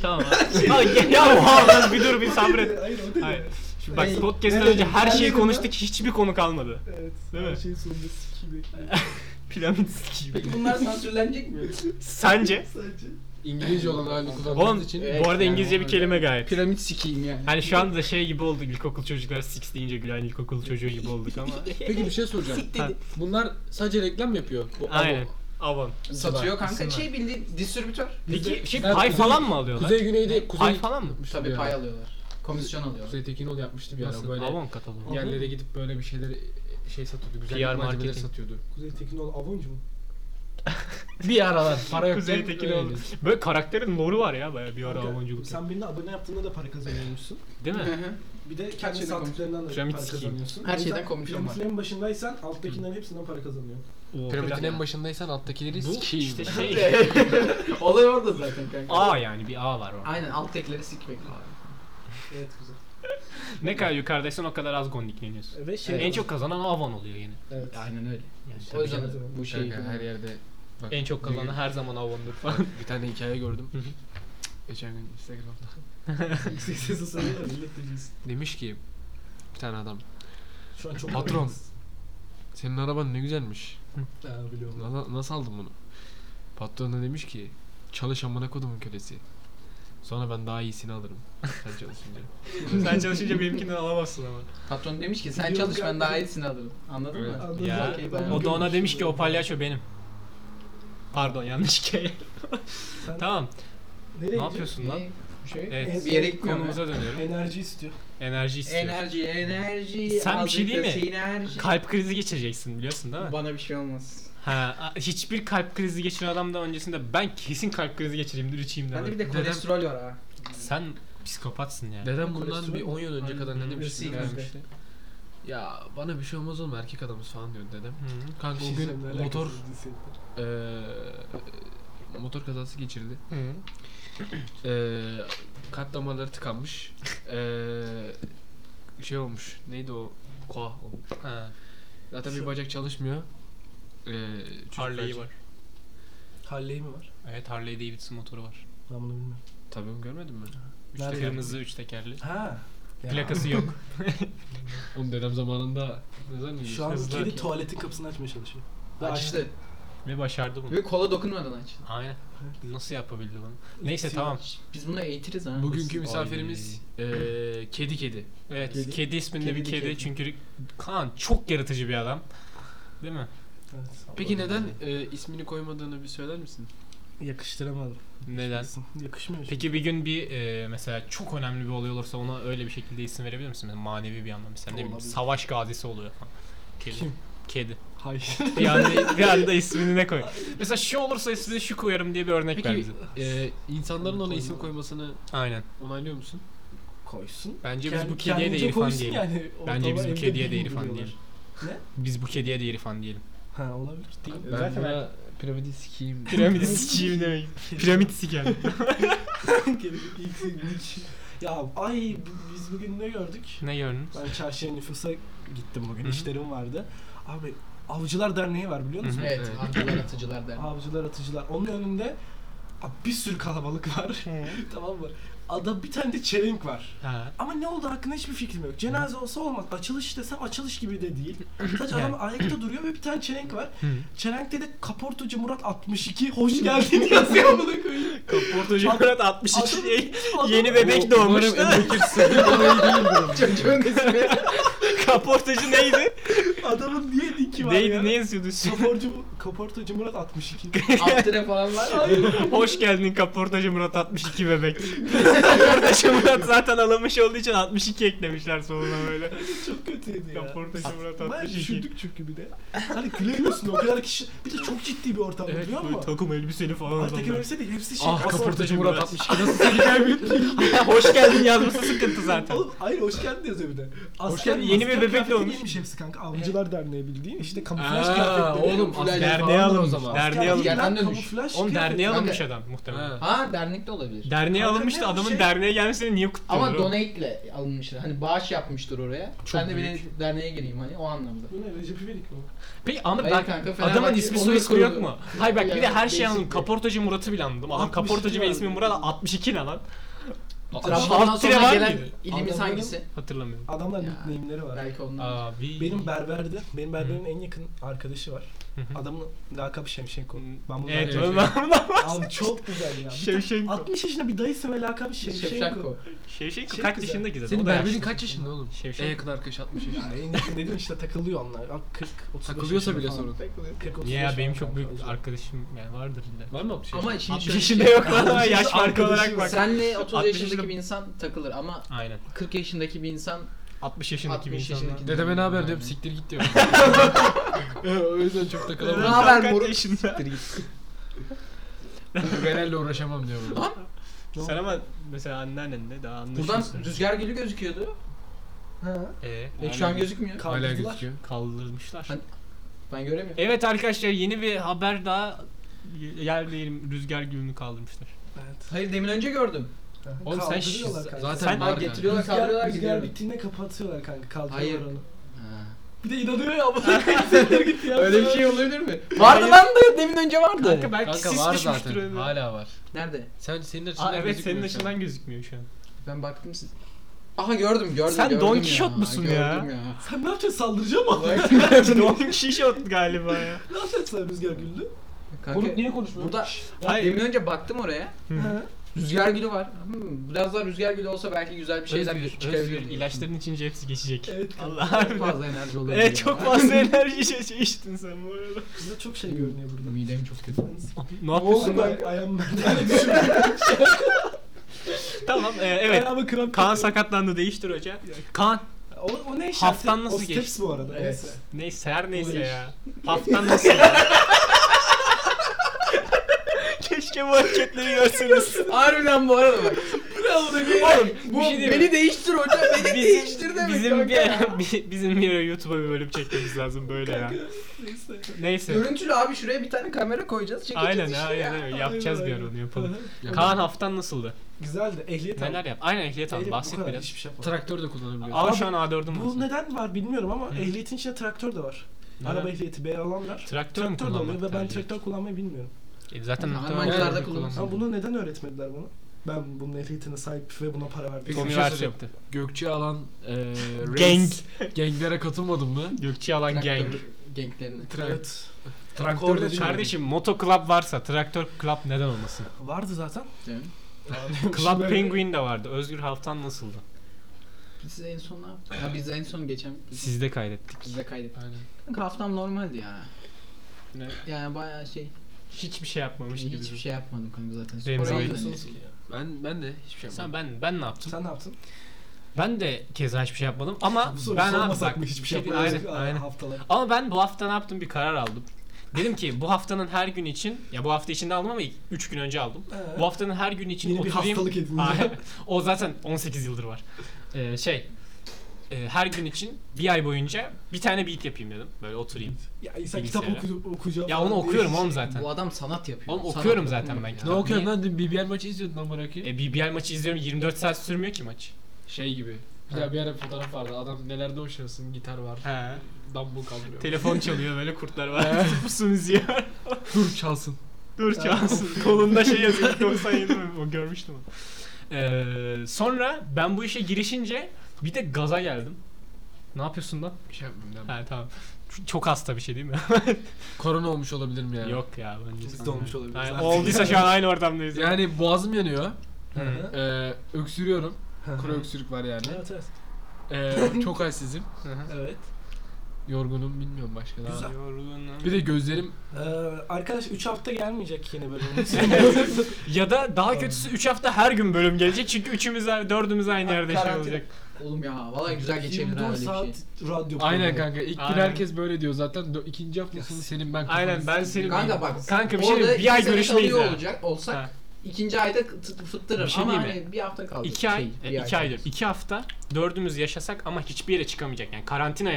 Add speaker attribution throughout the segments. Speaker 1: Ya ya Muharrem bir dur bir sabret.
Speaker 2: Hayır o değil.
Speaker 1: Hayır.
Speaker 2: Hayır.
Speaker 1: Şimdi bak
Speaker 2: Hayır.
Speaker 1: podcast'ten
Speaker 2: Hayır.
Speaker 1: önce her
Speaker 2: Sen
Speaker 1: şeyi
Speaker 2: dedin lan.
Speaker 1: konuştuk hiçbir konu kalmadı.
Speaker 2: Evet.
Speaker 1: Değil
Speaker 2: Değil
Speaker 1: mi?
Speaker 2: her şeyin sonunda sikiyim bekliyorum.
Speaker 1: Piramit gibi.
Speaker 3: Peki bunlar sansürlenecek mi?
Speaker 1: Sence?
Speaker 2: Sadece.
Speaker 4: İngilizce olan halini kullandığınız
Speaker 1: Oğlum
Speaker 4: için.
Speaker 3: Evet,
Speaker 1: bu arada
Speaker 3: yani
Speaker 1: İngilizce bir
Speaker 3: öyle.
Speaker 1: kelime gayet.
Speaker 4: Piramit sikiyim yani.
Speaker 1: Hani şu anda şey gibi olduk ilkokul çocuklar six deyince gülen ilkokul çocuğu gibi olduk ama.
Speaker 4: Peki bir şey soracağım.
Speaker 3: Sik dedi.
Speaker 4: Bunlar sadece reklam mı yapıyor? Bu Avon.
Speaker 1: Aynen. Avon.
Speaker 3: Satıyor kanka.
Speaker 1: İsim var.
Speaker 3: Şey bildiğin distribütör.
Speaker 1: Peki şey
Speaker 4: Ben
Speaker 1: pay
Speaker 4: kuzey-
Speaker 1: falan mı alıyorlar?
Speaker 4: Kuzey güneyde kuzey
Speaker 1: Pay falan mı?
Speaker 4: yapmıştı bir Şey-
Speaker 3: Tabii
Speaker 4: ara.
Speaker 3: pay alıyorlar. Komisyon alıyorlar.
Speaker 4: Kuzey Tekinol yapmıştı bir ara
Speaker 1: Nasıl?
Speaker 4: böyle.
Speaker 1: Avon katalogu.
Speaker 4: Yerlere gidip böyle bir şeyleri şey satıyordu. Güzel
Speaker 1: PR
Speaker 4: malzemeleri
Speaker 1: marketing.
Speaker 4: satıyordu.
Speaker 2: Kuzey Tekinol Avoncu mu?
Speaker 4: Bir aralar para yokken
Speaker 1: Kuzey Tekinoğlu.
Speaker 4: öyleydi.
Speaker 1: Böyle karakterin lore'u var ya baya bir ara
Speaker 2: Kanka,
Speaker 1: Avonculuk.
Speaker 2: Sen birine abone yaptığında da para kazanıyormuşsun.
Speaker 1: Değil
Speaker 3: Hı
Speaker 1: mi?
Speaker 3: hı.
Speaker 2: Bir de
Speaker 3: Her
Speaker 2: kendi
Speaker 3: şeyden
Speaker 2: sattıklarından da
Speaker 1: Piramit
Speaker 2: para
Speaker 1: sikeyim.
Speaker 2: kazanıyorsun.
Speaker 3: Her
Speaker 2: O yüzden
Speaker 3: şeyden komisyon var.
Speaker 2: Piramitlerin başındaysan alttakilerin hepsinden para kazanıyorsun.
Speaker 1: Oo,
Speaker 4: Piramidin
Speaker 1: falan.
Speaker 4: en başındaysan alttakileri
Speaker 1: Bu
Speaker 4: sikiyim.
Speaker 1: işte şey.
Speaker 3: Olay orada zaten kanka.
Speaker 1: A yani bir A var orada.
Speaker 3: Aynen alt tekleri sikmek.
Speaker 2: Evet güzel.
Speaker 1: Ne kadar yukarıdaysan o kadar az gondikleniyorsun.
Speaker 2: Ve şey
Speaker 1: En çok kazanan Avon oluyor yine.
Speaker 2: Evet.
Speaker 3: Aynen öyle.
Speaker 1: Yani
Speaker 4: O
Speaker 1: tabii
Speaker 4: yüzden
Speaker 1: canım.
Speaker 2: canım.
Speaker 4: bu şey
Speaker 3: Kanka,
Speaker 4: her yerde bak,
Speaker 1: en çok kazanan her zaman Avon'dur falan.
Speaker 4: bir tane hikaye gördüm.
Speaker 1: Hı hı.
Speaker 4: Geçen gün Instagram'da.
Speaker 2: Yüksek sesle söylüyorlar millet de bilsin.
Speaker 4: Demiş ki bir tane adam.
Speaker 2: Şu an çok
Speaker 4: Patron.
Speaker 2: haklıyız.
Speaker 4: Senin araban ne güzelmiş.
Speaker 2: Ha biliyorum.
Speaker 4: Na- na- Nasıl aldım bunu? Patron da demiş ki çalış amına kodumun kölesi. Sonra ben daha iyisini alırım. Sen çalışınca.
Speaker 1: Sen çalışınca benimkinden alamazsın ama.
Speaker 3: Patron demiş ki sen
Speaker 2: Biliyorum
Speaker 3: çalış ben
Speaker 2: kanka.
Speaker 3: daha iyisini alırım. Anladın
Speaker 4: Evet.
Speaker 3: mı?
Speaker 2: Anladım.
Speaker 1: Ya,
Speaker 2: Okey,
Speaker 3: ben
Speaker 1: O da ona
Speaker 2: görmüştüm
Speaker 1: demiş ki
Speaker 2: bunu.
Speaker 1: o palyaço benim. Pardon yanlış hikaye.
Speaker 2: Sen
Speaker 1: tamam.
Speaker 2: nereye
Speaker 1: Ne
Speaker 2: gidiyorsun?
Speaker 1: yapıyorsun lan?
Speaker 3: Bir şey.
Speaker 1: Evet.
Speaker 3: Bir yere gitmiyor
Speaker 1: Konumuza dönüyorum.
Speaker 2: Enerji istiyor.
Speaker 1: Enerji istiyor.
Speaker 3: Enerji, enerji.
Speaker 1: Sen bir şey değil mi?
Speaker 3: azıcık da Sinerji.
Speaker 1: Kalp krizi geçireceksin biliyorsun değil mi?
Speaker 3: Bana bir şey olmaz.
Speaker 1: Ha, a- hiçbir kalp krizi geçiren adamdan öncesinde ben kesin kalp krizi geçireyim dur içeyim
Speaker 3: Bende
Speaker 1: demem.
Speaker 3: bir de kolesterol var ha.
Speaker 1: Sen psikopatsın yani.
Speaker 4: Dedem bundan
Speaker 2: Kolesterol
Speaker 4: bir
Speaker 2: mü?
Speaker 4: 10 yıl önce kadar ne
Speaker 1: Aynen.
Speaker 4: demişti?
Speaker 3: Hırsı
Speaker 4: biliyor musun?
Speaker 3: işte.
Speaker 4: Ya bana bir şey olmaz oğlum erkek adamız falan diyor dedem.
Speaker 1: Hı.
Speaker 4: Kanka o gün
Speaker 2: Şizofrenle alakası
Speaker 4: motor
Speaker 2: şey yok cinsiyetler.
Speaker 4: eee, motor kazası geçirdi.
Speaker 1: Hı.
Speaker 4: Eee kalp damarları tıkanmış. Eee şey olmuş. Neydi o? Koa olmuş.
Speaker 1: Ha,
Speaker 4: Zaten bir
Speaker 2: Şu-
Speaker 4: bacak çalışmıyor. Eee çocuk
Speaker 1: Harley'i
Speaker 4: felç-
Speaker 1: var.
Speaker 2: Harley mi var?
Speaker 1: Evet Harley Davidson motoru var.
Speaker 2: Ben bunu bilmiyorum.
Speaker 4: Tabii oğlum görmedin mi?
Speaker 1: Üç
Speaker 2: Nerede?
Speaker 1: kırmızı, üç tekerli.
Speaker 2: Ha. Ya.
Speaker 1: Plakası yok.
Speaker 4: Oğlum dedem zamanında ne zannediyorsun?
Speaker 2: Şu an
Speaker 1: Hızlı
Speaker 2: kedi
Speaker 1: hareket.
Speaker 2: tuvaletin kapısını açmaya çalışıyor. Ve
Speaker 3: Açtı.
Speaker 1: Ve başardı bunu.
Speaker 3: Ve kola dokunmadan açtı.
Speaker 1: Aynen. Nasıl yapabildi bunu? Neyse
Speaker 2: Siyah.
Speaker 1: tamam.
Speaker 3: Biz bunu eğitiriz ha.
Speaker 4: Bugünkü misafirimiz eee kedi kedi.
Speaker 1: Evet,
Speaker 2: Kedi-
Speaker 1: kedi, isminde bir
Speaker 2: kedili
Speaker 1: kedi,
Speaker 2: kedi.
Speaker 1: çünkü Kaan çok yaratıcı bir adam. Değil mi?
Speaker 2: Evet.
Speaker 4: Peki neden eee, ismini koymadığını bir söyler misin?
Speaker 2: Yakıştıramadım.
Speaker 1: Neden?
Speaker 2: İsim Yakışmıyor. Peki.
Speaker 1: Peki bir gün bir e, mesela çok önemli bir olay olursa ona öyle bir şekilde isim verebilir misin? Mesela manevi bir anlam mesela ne bileyim
Speaker 2: Olabilir.
Speaker 1: savaş gazisi oluyor falan. Kedi.
Speaker 2: Kim?
Speaker 1: Kedi.
Speaker 2: Hayır.
Speaker 1: Bir anda, bir anda ismini ne koy? Mesela şu olursa size şu koyarım diye bir örnek ver
Speaker 4: Peki
Speaker 1: bize.
Speaker 4: eee, E, insanların ona isim koymasını
Speaker 1: Aynen.
Speaker 4: onaylıyor musun?
Speaker 2: Koysun.
Speaker 1: Bence biz
Speaker 2: Kend-
Speaker 1: bu kediye de
Speaker 2: kendince
Speaker 1: İrfan
Speaker 2: koysun
Speaker 1: diyelim.
Speaker 2: Yani.
Speaker 1: Bence biz
Speaker 2: Ortama
Speaker 1: bu
Speaker 2: evde
Speaker 1: kediye de
Speaker 2: bilmiyorum
Speaker 1: İrfan
Speaker 2: diyorlar.
Speaker 1: diyelim. Biz bu kediye de İrfan diyelim.
Speaker 2: Ha olabilir. Değil.
Speaker 4: Ben
Speaker 2: Zaten
Speaker 4: buna piramidi sikeyim.
Speaker 1: Piramidi sikiyim demek. Piramit siker.
Speaker 2: kedi ilk sevgilik. Ya ay b- biz bugün ne gördük?
Speaker 1: ne gördünüz?
Speaker 2: Ben çarşıya nüfusa gittim bugün.
Speaker 1: Hı hı.
Speaker 2: İşlerim vardı. Abi Avcılar Derneği var biliyor musun?
Speaker 1: Hı
Speaker 3: Evet,
Speaker 4: Evet.
Speaker 3: avcılar atıcılar der.
Speaker 2: Avcılar atıcılar. Onun önünde abi, bir sürü kalabalık var. tamam mı? Ada bir tane de çelenk var.
Speaker 1: Ha.
Speaker 2: Ama ne oldu hakkında hiçbir fikrim yok. Cenaze olsa olmaz. Açılış desem açılış gibi de değil. Sadece
Speaker 1: Yani.
Speaker 2: adam ayakta duruyor ve bir tane çelenk var.
Speaker 1: Hı.
Speaker 2: Çelenkte de kaportacı Murat 62 hoş geldin yazıyor bunu.
Speaker 1: Kaportacı
Speaker 2: Adam-
Speaker 1: Murat 62 diye
Speaker 2: Adam-
Speaker 1: şey- yeni bebek doğmuş.
Speaker 4: Umarım Ebu Bekir Sıddık olayı değildir.
Speaker 3: Çocuğun ismi.
Speaker 1: Kaportacı neydi?
Speaker 2: Adamın niye diki var ya?
Speaker 1: neydi? Ne yazıyordu?
Speaker 2: Kaporcu, kaportacı Murat 62.
Speaker 3: Altına falan var
Speaker 1: Şey,
Speaker 3: ya.
Speaker 1: Hoş geldin kaportacı Murat 62 bebek. kaportacı Murat zaten alamış olduğu için 62 eklemişler sonuna böyle.
Speaker 2: çok kötüydü ya.
Speaker 1: Kaportacı Murat
Speaker 2: Bayağı
Speaker 1: 62.
Speaker 2: düşündük çünkü bir de. Hani gülemiyorsun o kadar kişi. Bir de çok ciddi bir ortam
Speaker 1: Evet
Speaker 2: biliyor
Speaker 1: böyle
Speaker 2: musun?
Speaker 1: takım elbiseli falan
Speaker 2: Artık
Speaker 1: adamlar.
Speaker 2: ölse de hepsi şey.
Speaker 4: Ah kaportacı Murat
Speaker 1: Murat.
Speaker 4: 62 nasıl seni kaybettin?
Speaker 1: Hoş geldin yazması sıkıntı zaten.
Speaker 2: Oğlum hayır hoş geldin yazıyor bir de. Hoş
Speaker 1: geldin, yeni bir bebek doğmuş.
Speaker 2: Giymiş hepsi kanka. Avcılar Derneği bildiğin işte kamuflaj
Speaker 4: Aa
Speaker 2: kıyafetleri.
Speaker 4: oğlum
Speaker 3: Kamuflaj
Speaker 4: derneğe
Speaker 1: Derneğe
Speaker 4: alın o
Speaker 1: alınmış.
Speaker 4: zaman.
Speaker 1: Derneğe alınmış.
Speaker 2: Kamuflaj
Speaker 3: Yerden dönmüş.
Speaker 2: kıyafetleri.
Speaker 1: Oğlum derneğe
Speaker 3: Kanka.
Speaker 1: alınmış adam muhtemelen.
Speaker 4: Ha.
Speaker 3: Ha dernek de olabilir.
Speaker 1: Derneğe
Speaker 2: Adam
Speaker 1: alınmış
Speaker 2: ne
Speaker 1: da adamın
Speaker 2: şey-
Speaker 1: derneğe gelmesine niye kutluyorlar?
Speaker 3: Ama
Speaker 1: oğlum?
Speaker 3: donate'le alınmıştır. Hani bağış yapmıştır oraya.
Speaker 1: Çok
Speaker 3: ben de bir
Speaker 1: büyük.
Speaker 3: derneğe gireyim hani o anlamda.
Speaker 2: Bu ne Recep İvedik mi?
Speaker 1: Peki ama
Speaker 3: Hayır
Speaker 1: bak,
Speaker 3: kanka, Fenerbahçe
Speaker 1: adamın ismi soy
Speaker 3: onu
Speaker 1: ismi yok
Speaker 3: korudu.
Speaker 1: mu? Hayır bak bir de
Speaker 3: Yani
Speaker 1: her şeyi
Speaker 3: değişik
Speaker 1: anladım.
Speaker 3: bir-
Speaker 1: Kaportacı Murat'ı bile anladım. Adam
Speaker 2: 62
Speaker 1: kaportacı ve
Speaker 2: var.
Speaker 1: ismi Murat 62 ne lan?
Speaker 3: Trabzon'dan
Speaker 1: Alt tire
Speaker 3: sonra
Speaker 1: var
Speaker 3: gelen
Speaker 1: mıydı?
Speaker 3: ilimiz
Speaker 2: Anladım.
Speaker 3: hangisi?
Speaker 1: Hatırlamıyorum.
Speaker 2: Adamlar
Speaker 3: Ya.
Speaker 2: nickname'leri var.
Speaker 3: Belki ondan.
Speaker 4: Abi.
Speaker 2: Benim berberde, benim berberimin en yakın arkadaşı var.
Speaker 1: Hı hı.
Speaker 2: Adamın lakabı Şemşenko. Ben bunu
Speaker 1: Evet,
Speaker 2: evet,
Speaker 1: evet. ben
Speaker 2: Abi çok güzel ya. Bir tane-
Speaker 1: Şevşenko.
Speaker 2: 60 yaşında bir dayısı ve lakabı
Speaker 1: Şey,
Speaker 3: Şey,
Speaker 2: Şevşenko.
Speaker 3: Şevşenko.
Speaker 1: Şevşenko
Speaker 2: Şey
Speaker 1: kaç
Speaker 2: güzel.
Speaker 1: yaşındaki zaten?
Speaker 4: Senin
Speaker 1: O da
Speaker 4: berberin
Speaker 1: yaşlı.
Speaker 4: kaç E, yaşında oğlum?
Speaker 1: Şevşenko.
Speaker 4: En yakın arkadaş 60 yaşında.
Speaker 2: En yakın dedim işte takılıyor onlar. Abi 40 35
Speaker 4: Takılıyorsa
Speaker 2: yaşında
Speaker 4: bile
Speaker 2: falan.
Speaker 4: sorun.
Speaker 2: 40 35.
Speaker 1: Niye ya benim
Speaker 2: yaşında
Speaker 1: çok büyük
Speaker 2: falan.
Speaker 1: arkadaşım yani vardır illa.
Speaker 4: Var mı 60
Speaker 3: Ama şimdi
Speaker 1: 60
Speaker 3: şöyle
Speaker 1: yaşında
Speaker 3: bir şey-
Speaker 1: yok lan yaş farkı
Speaker 2: Arkadaşım
Speaker 1: olarak bak.
Speaker 3: Senle 30
Speaker 1: 60
Speaker 3: yaşındaki
Speaker 1: yaşında-
Speaker 3: bir insan takılır ama
Speaker 1: Aynen.
Speaker 3: 40 yaşındaki bir insan
Speaker 1: 60 yaşındaki bir
Speaker 3: 60
Speaker 1: insanla.
Speaker 3: yaşındaki-
Speaker 4: Dedeme ne haber diyorum
Speaker 3: Aynen.
Speaker 4: siktir git diyorum. o yüzden çok
Speaker 1: Ne
Speaker 4: takılamam.
Speaker 1: haber
Speaker 3: haber
Speaker 1: moruk?
Speaker 3: moruk?
Speaker 4: Benel'le uğraşamam diyorum.
Speaker 1: Sen ama mesela annenle daha
Speaker 3: buradan
Speaker 1: anlaşıyorsun.
Speaker 3: rüzgar gülü gözüküyordu.
Speaker 2: Ha.
Speaker 1: Ee,
Speaker 3: E, şu an gözükmüyor.
Speaker 4: Hala
Speaker 2: Kaldırdılar.
Speaker 4: gözüküyor.
Speaker 1: kaldırmışlar.
Speaker 3: Hani- Ben göremiyorum.
Speaker 1: Evet arkadaşlar yeni bir haber daha yerleyelim rüzgar gülünü kaldırmışlar.
Speaker 2: Evet.
Speaker 3: Hayır demin önce gördüm.
Speaker 2: Ha,
Speaker 4: Oğlum sen şiş-
Speaker 2: kaldırıyorlar kanka.
Speaker 4: zaten
Speaker 1: Şey Sen-
Speaker 4: var
Speaker 3: getiriyor-
Speaker 4: yani.
Speaker 3: Kaldırıyorlar,
Speaker 2: Rüzgar, rüzgar
Speaker 3: gidiyorlar.
Speaker 2: bittiğinde kapatıyorlar kanka. Kaldırıyorlar
Speaker 3: Hayır.
Speaker 2: onu.
Speaker 3: Ha.
Speaker 2: Bir de inanıyor ya bu siktir git ya.
Speaker 4: Öyle bir şey olabilir mi?
Speaker 3: Vardı lan da demin önce vardı.
Speaker 1: Kanka belki
Speaker 4: Kanka
Speaker 1: sis
Speaker 4: var
Speaker 1: düşmüştür
Speaker 4: zaten.
Speaker 1: önüne.
Speaker 4: Hala var.
Speaker 3: Nerede?
Speaker 4: Sen senin açından
Speaker 1: Aa, evet senin
Speaker 4: gözükmüyor şu an.
Speaker 1: açından gözükmüyor şu an.
Speaker 3: Ben baktım siz. Aha gördüm gördüm.
Speaker 1: Sen
Speaker 3: gördüm
Speaker 1: Don
Speaker 3: ya,
Speaker 1: Quixote musun ya?
Speaker 3: gördüm ya?
Speaker 2: Sen ne yapacaksın saldıracağım mı?
Speaker 1: Don Quixote galiba ya.
Speaker 2: ne yapacaksın sen Rüzgar Güllü?
Speaker 3: Kanka,
Speaker 4: niye konuşmuyor?
Speaker 3: burada
Speaker 1: Hayır.
Speaker 3: demin önce baktım oraya.
Speaker 2: Ha.
Speaker 3: Rüzgar gülü var. Hmm, biraz daha rüzgar gülü olsa belki güzel bir şey şeyler
Speaker 4: Özgür,
Speaker 3: çıkabilir.
Speaker 1: İlaçların içince hepsi geçecek.
Speaker 2: Evet.
Speaker 1: Allah
Speaker 3: Çok
Speaker 1: harbiden.
Speaker 3: fazla enerji olabilir.
Speaker 1: Evet
Speaker 3: ya.
Speaker 1: çok fazla enerji şey, şey içtin sen bu arada.
Speaker 2: Bizde çok şey görünüyor burada.
Speaker 3: Midem çok kötü.
Speaker 1: Ne
Speaker 2: Olsun
Speaker 1: yapıyorsun lan?
Speaker 2: ben ayağım ben.
Speaker 1: Tamam e, evet.
Speaker 2: Ayağımı kramp
Speaker 1: Kaan
Speaker 2: yapıyor.
Speaker 1: sakatlandı değiştir hoca. Kaan
Speaker 2: O, o ne iş?
Speaker 1: Haftan
Speaker 2: yaptı?
Speaker 1: nasıl
Speaker 2: O steps
Speaker 1: geçti?
Speaker 2: bu arada.
Speaker 3: Evet.
Speaker 2: Neyse.
Speaker 1: neyse her neyse
Speaker 2: Olur.
Speaker 1: ya. Haftan nasıl ya? Keşke bu hareketleri görseniz.
Speaker 3: Harbiden bu arada bak.
Speaker 2: Bravo da bir
Speaker 1: Oğlum
Speaker 3: Bu
Speaker 1: bir şey diyeyim mi?
Speaker 3: beni değiştir hoca beni değiştir demek.
Speaker 1: bizim
Speaker 3: kanka
Speaker 1: bir,
Speaker 3: ya.
Speaker 1: bi- bizim bir ara YouTube'a bir bölüm çekmemiz lazım böyle ya.
Speaker 2: Neyse.
Speaker 1: Neyse.
Speaker 3: Görüntülü abi şuraya bir tane kamera koyacağız çekeceğiz
Speaker 1: Aynen
Speaker 3: işte
Speaker 1: aynen
Speaker 3: ya.
Speaker 1: öyle. yapacağız bir ara onu yapalım.
Speaker 4: Yani
Speaker 1: Kaan haftan nasıldı?
Speaker 2: Güzel de ehliyet
Speaker 1: Neler yap? Aynen ehliyet al
Speaker 2: Ehliyet bu
Speaker 1: bahset
Speaker 2: kadar,
Speaker 1: biraz.
Speaker 2: Hiçbir şey yapmadım.
Speaker 4: traktör de kullanabiliyorsun.
Speaker 1: Al
Speaker 2: Abi,
Speaker 1: şu an A4'üm
Speaker 2: Bu
Speaker 1: var.
Speaker 2: neden var bilmiyorum ama
Speaker 1: Hı.
Speaker 2: ehliyetin içinde traktör de var.
Speaker 1: Neden?
Speaker 2: Araba ehliyeti B alanlar.
Speaker 1: Traktör mü
Speaker 2: Traktör de oluyor
Speaker 1: kullanmak
Speaker 2: ve ben
Speaker 1: tercih?
Speaker 2: traktör kullanmayı bilmiyorum.
Speaker 1: E, zaten
Speaker 3: Ama
Speaker 1: muhtemelen
Speaker 3: mancılarda
Speaker 1: traktör
Speaker 3: kullanırsın.
Speaker 2: Ama
Speaker 1: kullanmam.
Speaker 2: bunu neden öğretmediler bana? Ben bunun ehliyetine sahip ve buna para verdim.
Speaker 4: Peki.
Speaker 1: Tommy
Speaker 4: Bir şey
Speaker 1: Verce
Speaker 4: söyleyeyim.
Speaker 1: yaptı.
Speaker 4: Gökçe alan eee
Speaker 1: Gang.
Speaker 4: race- Ganglere katılmadın mı?
Speaker 1: Gökçe alan
Speaker 3: Traktör
Speaker 1: gang.
Speaker 3: Ganklerini.
Speaker 2: Evet.
Speaker 4: Traktör de
Speaker 1: Kardeşim moto club varsa traktör club neden olmasın?
Speaker 2: Vardı zaten.
Speaker 3: Değil mi?
Speaker 1: Club Penguin de vardı. Özgür Haftan nasıldı?
Speaker 3: Biz en son ne yaptık? Ha biz en son geçen biz,
Speaker 1: Sizde kaydettik.
Speaker 3: biz de kaydettik.
Speaker 4: Aynen.
Speaker 3: Kanka haftam normaldi ya.
Speaker 4: Ne?
Speaker 3: Yani bayağı şey
Speaker 1: Hiçbir şey yapmamış gibi.
Speaker 3: hiçbir şey yapmadım kanka zaten.
Speaker 1: Remzi
Speaker 3: Spora
Speaker 1: Bey.
Speaker 3: gidelim.
Speaker 4: Ben ben de hiçbir şey
Speaker 1: Sen
Speaker 4: yapmadım.
Speaker 1: ben ben ne yaptım?
Speaker 2: Sen ne yaptın?
Speaker 1: Ben de keza hiçbir şey yapmadım ama
Speaker 2: Bu soruyu
Speaker 1: ben abi
Speaker 2: sormasak
Speaker 1: bak
Speaker 2: mı hiçbir şey
Speaker 1: şimdi-
Speaker 2: yapmıyoruz
Speaker 1: Aynen, aynen.
Speaker 2: haftalar.
Speaker 1: Ama ben bu hafta ne yaptım bir karar aldım. Dedim ki bu haftanın her gün için ya bu hafta içinde aldım ama 3 gün önce aldım. Bu haftanın her günü için
Speaker 2: Yeni bir
Speaker 1: oturayım.
Speaker 2: hastalık edindin.
Speaker 1: Hayır, o zaten 18 yıldır var. Ee, şey e, her gün için bir ay boyunca bir tane beat yapayım dedim. Böyle oturayım.
Speaker 2: Ya insan kitap
Speaker 1: Bilgisayara.
Speaker 2: oku, okuyacağım.
Speaker 1: Ya onu
Speaker 2: falan diye
Speaker 1: okuyorum
Speaker 2: hiç-
Speaker 1: oğlum zaten.
Speaker 3: Bu adam sanat yapıyor.
Speaker 1: Oğlum
Speaker 3: Sanat
Speaker 1: okuyorum
Speaker 3: yapıyor.
Speaker 1: zaten ben
Speaker 4: Ne
Speaker 1: kitabı.
Speaker 4: okuyorsun
Speaker 1: Niye?
Speaker 4: lan? Dün BBL maçı izliyordun lan bırakayım.
Speaker 1: E, BBL maçı izliyorum 24 saat sürmüyor ki maç.
Speaker 4: Şey gibi. Bir
Speaker 1: Ha.
Speaker 4: daha bir ara fotoğraf vardı. Adam nelerde hoşlanırsın? Gitar var.
Speaker 1: He.
Speaker 4: Dumbbell kaldırıyor.
Speaker 1: Telefon çalıyor böyle kurtlar var. Tutmuşsun izliyor.
Speaker 4: Dur çalsın.
Speaker 1: Dur çalsın. Kolunda şey yazıyor 97 mi? O görmüştüm onu. Ee, sonra ben bu işe girişince bir de gaza geldim. Ne yapıyorsun lan?
Speaker 4: Bir şey yapmıyorum. ben.
Speaker 1: He tamam. Ç- Çok hasta bir şey değil mi?
Speaker 4: Korona olmuş olabilir mi yani?
Speaker 1: Yok ya bence.
Speaker 2: Biz de
Speaker 1: sanmıyorum.
Speaker 2: olmuş olabiliriz
Speaker 1: Aynen,
Speaker 2: artık.
Speaker 1: Olduysa şu an aynı ortamdayız.
Speaker 4: Yani boğazım yanıyor.
Speaker 1: Hı.
Speaker 2: Hı.
Speaker 4: Ee, öksürüyorum.
Speaker 2: Hı hı.
Speaker 4: Kuru öksürük var yani.
Speaker 2: Evet evet.
Speaker 4: Ee, çok halsizim.
Speaker 1: Hı hı.
Speaker 2: Evet.
Speaker 4: Yorgunum bilmiyorum başka daha.
Speaker 2: Güzel.
Speaker 1: Yorgunum.
Speaker 4: Bir de gözlerim
Speaker 2: Ee, arkadaş 3 hafta gelmeyecek yeni bölümümüz.
Speaker 1: Ya da daha kötüsü 3 hafta her gün bölüm gelecek çünkü üçümüz dördümüz aynı
Speaker 3: Ha,
Speaker 1: yerde şey
Speaker 3: karantina.
Speaker 1: olacak.
Speaker 3: Oğlum ya vallahi güzel geçebilir ha
Speaker 2: 24
Speaker 3: öyle bir
Speaker 2: saat
Speaker 3: şey.
Speaker 2: radyo
Speaker 4: Aynen
Speaker 2: programı.
Speaker 4: kanka. İlk gün
Speaker 1: Aynen.
Speaker 4: herkes böyle diyor zaten. Dö- ikinci haftasını senin ben kafanı
Speaker 1: Aynen ben seni
Speaker 4: sikeyim.
Speaker 3: Kanka bak.
Speaker 1: Kanka bir şey
Speaker 3: orada
Speaker 1: diyeyim, bir
Speaker 3: iki
Speaker 1: ay
Speaker 3: sene
Speaker 1: görüşmeyiz
Speaker 3: kalıyor
Speaker 1: ya.
Speaker 3: olsak olsak
Speaker 1: Ha.
Speaker 3: ikinci ayda tı- fıttırır
Speaker 1: Bir şey
Speaker 3: ama
Speaker 1: diyeyim mi?
Speaker 3: hani bir hafta kaldı.
Speaker 1: İki ay,
Speaker 3: Şey,
Speaker 1: e,
Speaker 3: bir
Speaker 1: iki ay
Speaker 3: kaldı.
Speaker 1: diyorum. İki hafta dördümüz yaşasak ama hiçbir yere çıkamayacak. Yani karantina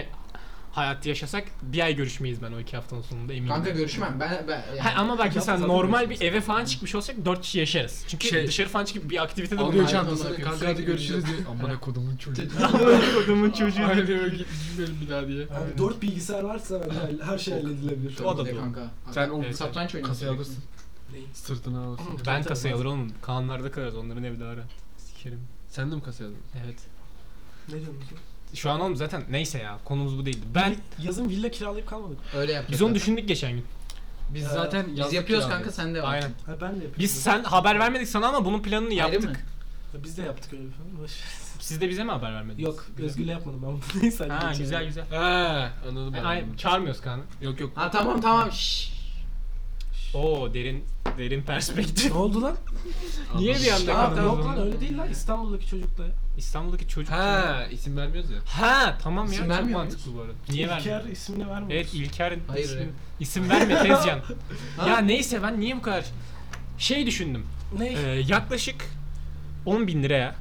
Speaker 1: hayatı yaşasak bir ay görüşmeyiz ben o iki haftanın sonunda eminim.
Speaker 3: Kanka görüşmem. Ben ben yani.
Speaker 1: Ha, ama bak mesela
Speaker 2: zaten
Speaker 1: normal bir
Speaker 2: görüşmeyiz.
Speaker 1: eve falan çıkmış olsak dört kişi yaşarız. Çünkü
Speaker 4: Şey-
Speaker 1: dışarı falan çıkıp bir aktivite de
Speaker 4: Alıyor
Speaker 1: bulunmuyor.
Speaker 3: Aynen
Speaker 4: çantasını
Speaker 3: olarak
Speaker 4: kanka hadi
Speaker 3: sürekli
Speaker 4: görüşürüz diyor. Amına kodumun çocuğu.
Speaker 1: Adamın
Speaker 4: Aynen diyor git düşünmeyelim bir daha diye.
Speaker 2: Abi 4 bilgisayar varsa ben hall- her şey halledilebilir.
Speaker 1: O da
Speaker 3: Bir de
Speaker 1: doğru.
Speaker 3: kanka.
Speaker 4: Sen o
Speaker 1: Evet,
Speaker 3: satranç oynuyorsun.
Speaker 4: kasayı alırsın. Sırtına alırsın.
Speaker 1: Ben kasayı alır oğlum. Kaanlarda kalırız onların evi daha rahat. sikerim.
Speaker 4: Sen de mi kasa yazdın?
Speaker 1: Evet.
Speaker 2: Ne diyorsunuz? lan?
Speaker 1: Şu an oğlum zaten neyse ya konumuz bu değildi. Ben
Speaker 2: Yazın villa kiralayıp kalmadık.
Speaker 3: Öyle yapacağız.
Speaker 1: biz onu düşündük geçen gün.
Speaker 4: Biz
Speaker 2: Ee,
Speaker 4: zaten
Speaker 3: Biz
Speaker 4: yazdık
Speaker 3: yapıyoruz
Speaker 4: yani.
Speaker 3: kanka sen de var.
Speaker 1: Aynen.
Speaker 2: Ha ben de yapıyorum.
Speaker 1: Biz sen haber vermedik sana ama bunun planını
Speaker 3: Ayrı
Speaker 1: yaptık.
Speaker 3: mı?
Speaker 2: Ha, Biz de yaptık öyle bir falan. Boş ver.
Speaker 1: Siz de bize mi haber vermediniz?
Speaker 2: Yok Özgür'le yapmadım ben bunu. Neyse. hadi
Speaker 1: Ha
Speaker 2: geçelim.
Speaker 1: güzel güzel.
Speaker 4: Ha, anladım ben.
Speaker 1: Aynen çağırmıyoruz kanı.
Speaker 4: Yok yok.
Speaker 3: Ha tamam tamam. Şşş.
Speaker 1: Oo derin derin perspektif.
Speaker 2: Ne oldu lan?
Speaker 1: Niye bir anda
Speaker 2: Aa,
Speaker 1: kadın?
Speaker 2: yok lan öyle değil lan İstanbul'daki çocukla.
Speaker 1: İstanbul'daki çocuk.
Speaker 4: Ha, isim vermiyoruz ya.
Speaker 1: Ha tamam
Speaker 3: İsim
Speaker 1: ya çok
Speaker 3: vermiyor
Speaker 1: mantıklı bu arada. Niye
Speaker 2: İlker
Speaker 1: vermiyor?
Speaker 2: ismini vermiyor.
Speaker 1: Evet İlker
Speaker 3: Hayır.
Speaker 1: ismi-
Speaker 3: evet.
Speaker 1: isim verme Tezcan.
Speaker 3: Ha?
Speaker 1: ya neyse ben niye bu kadar şey düşündüm.
Speaker 2: Ne?
Speaker 1: Ee, yaklaşık 10 bin liraya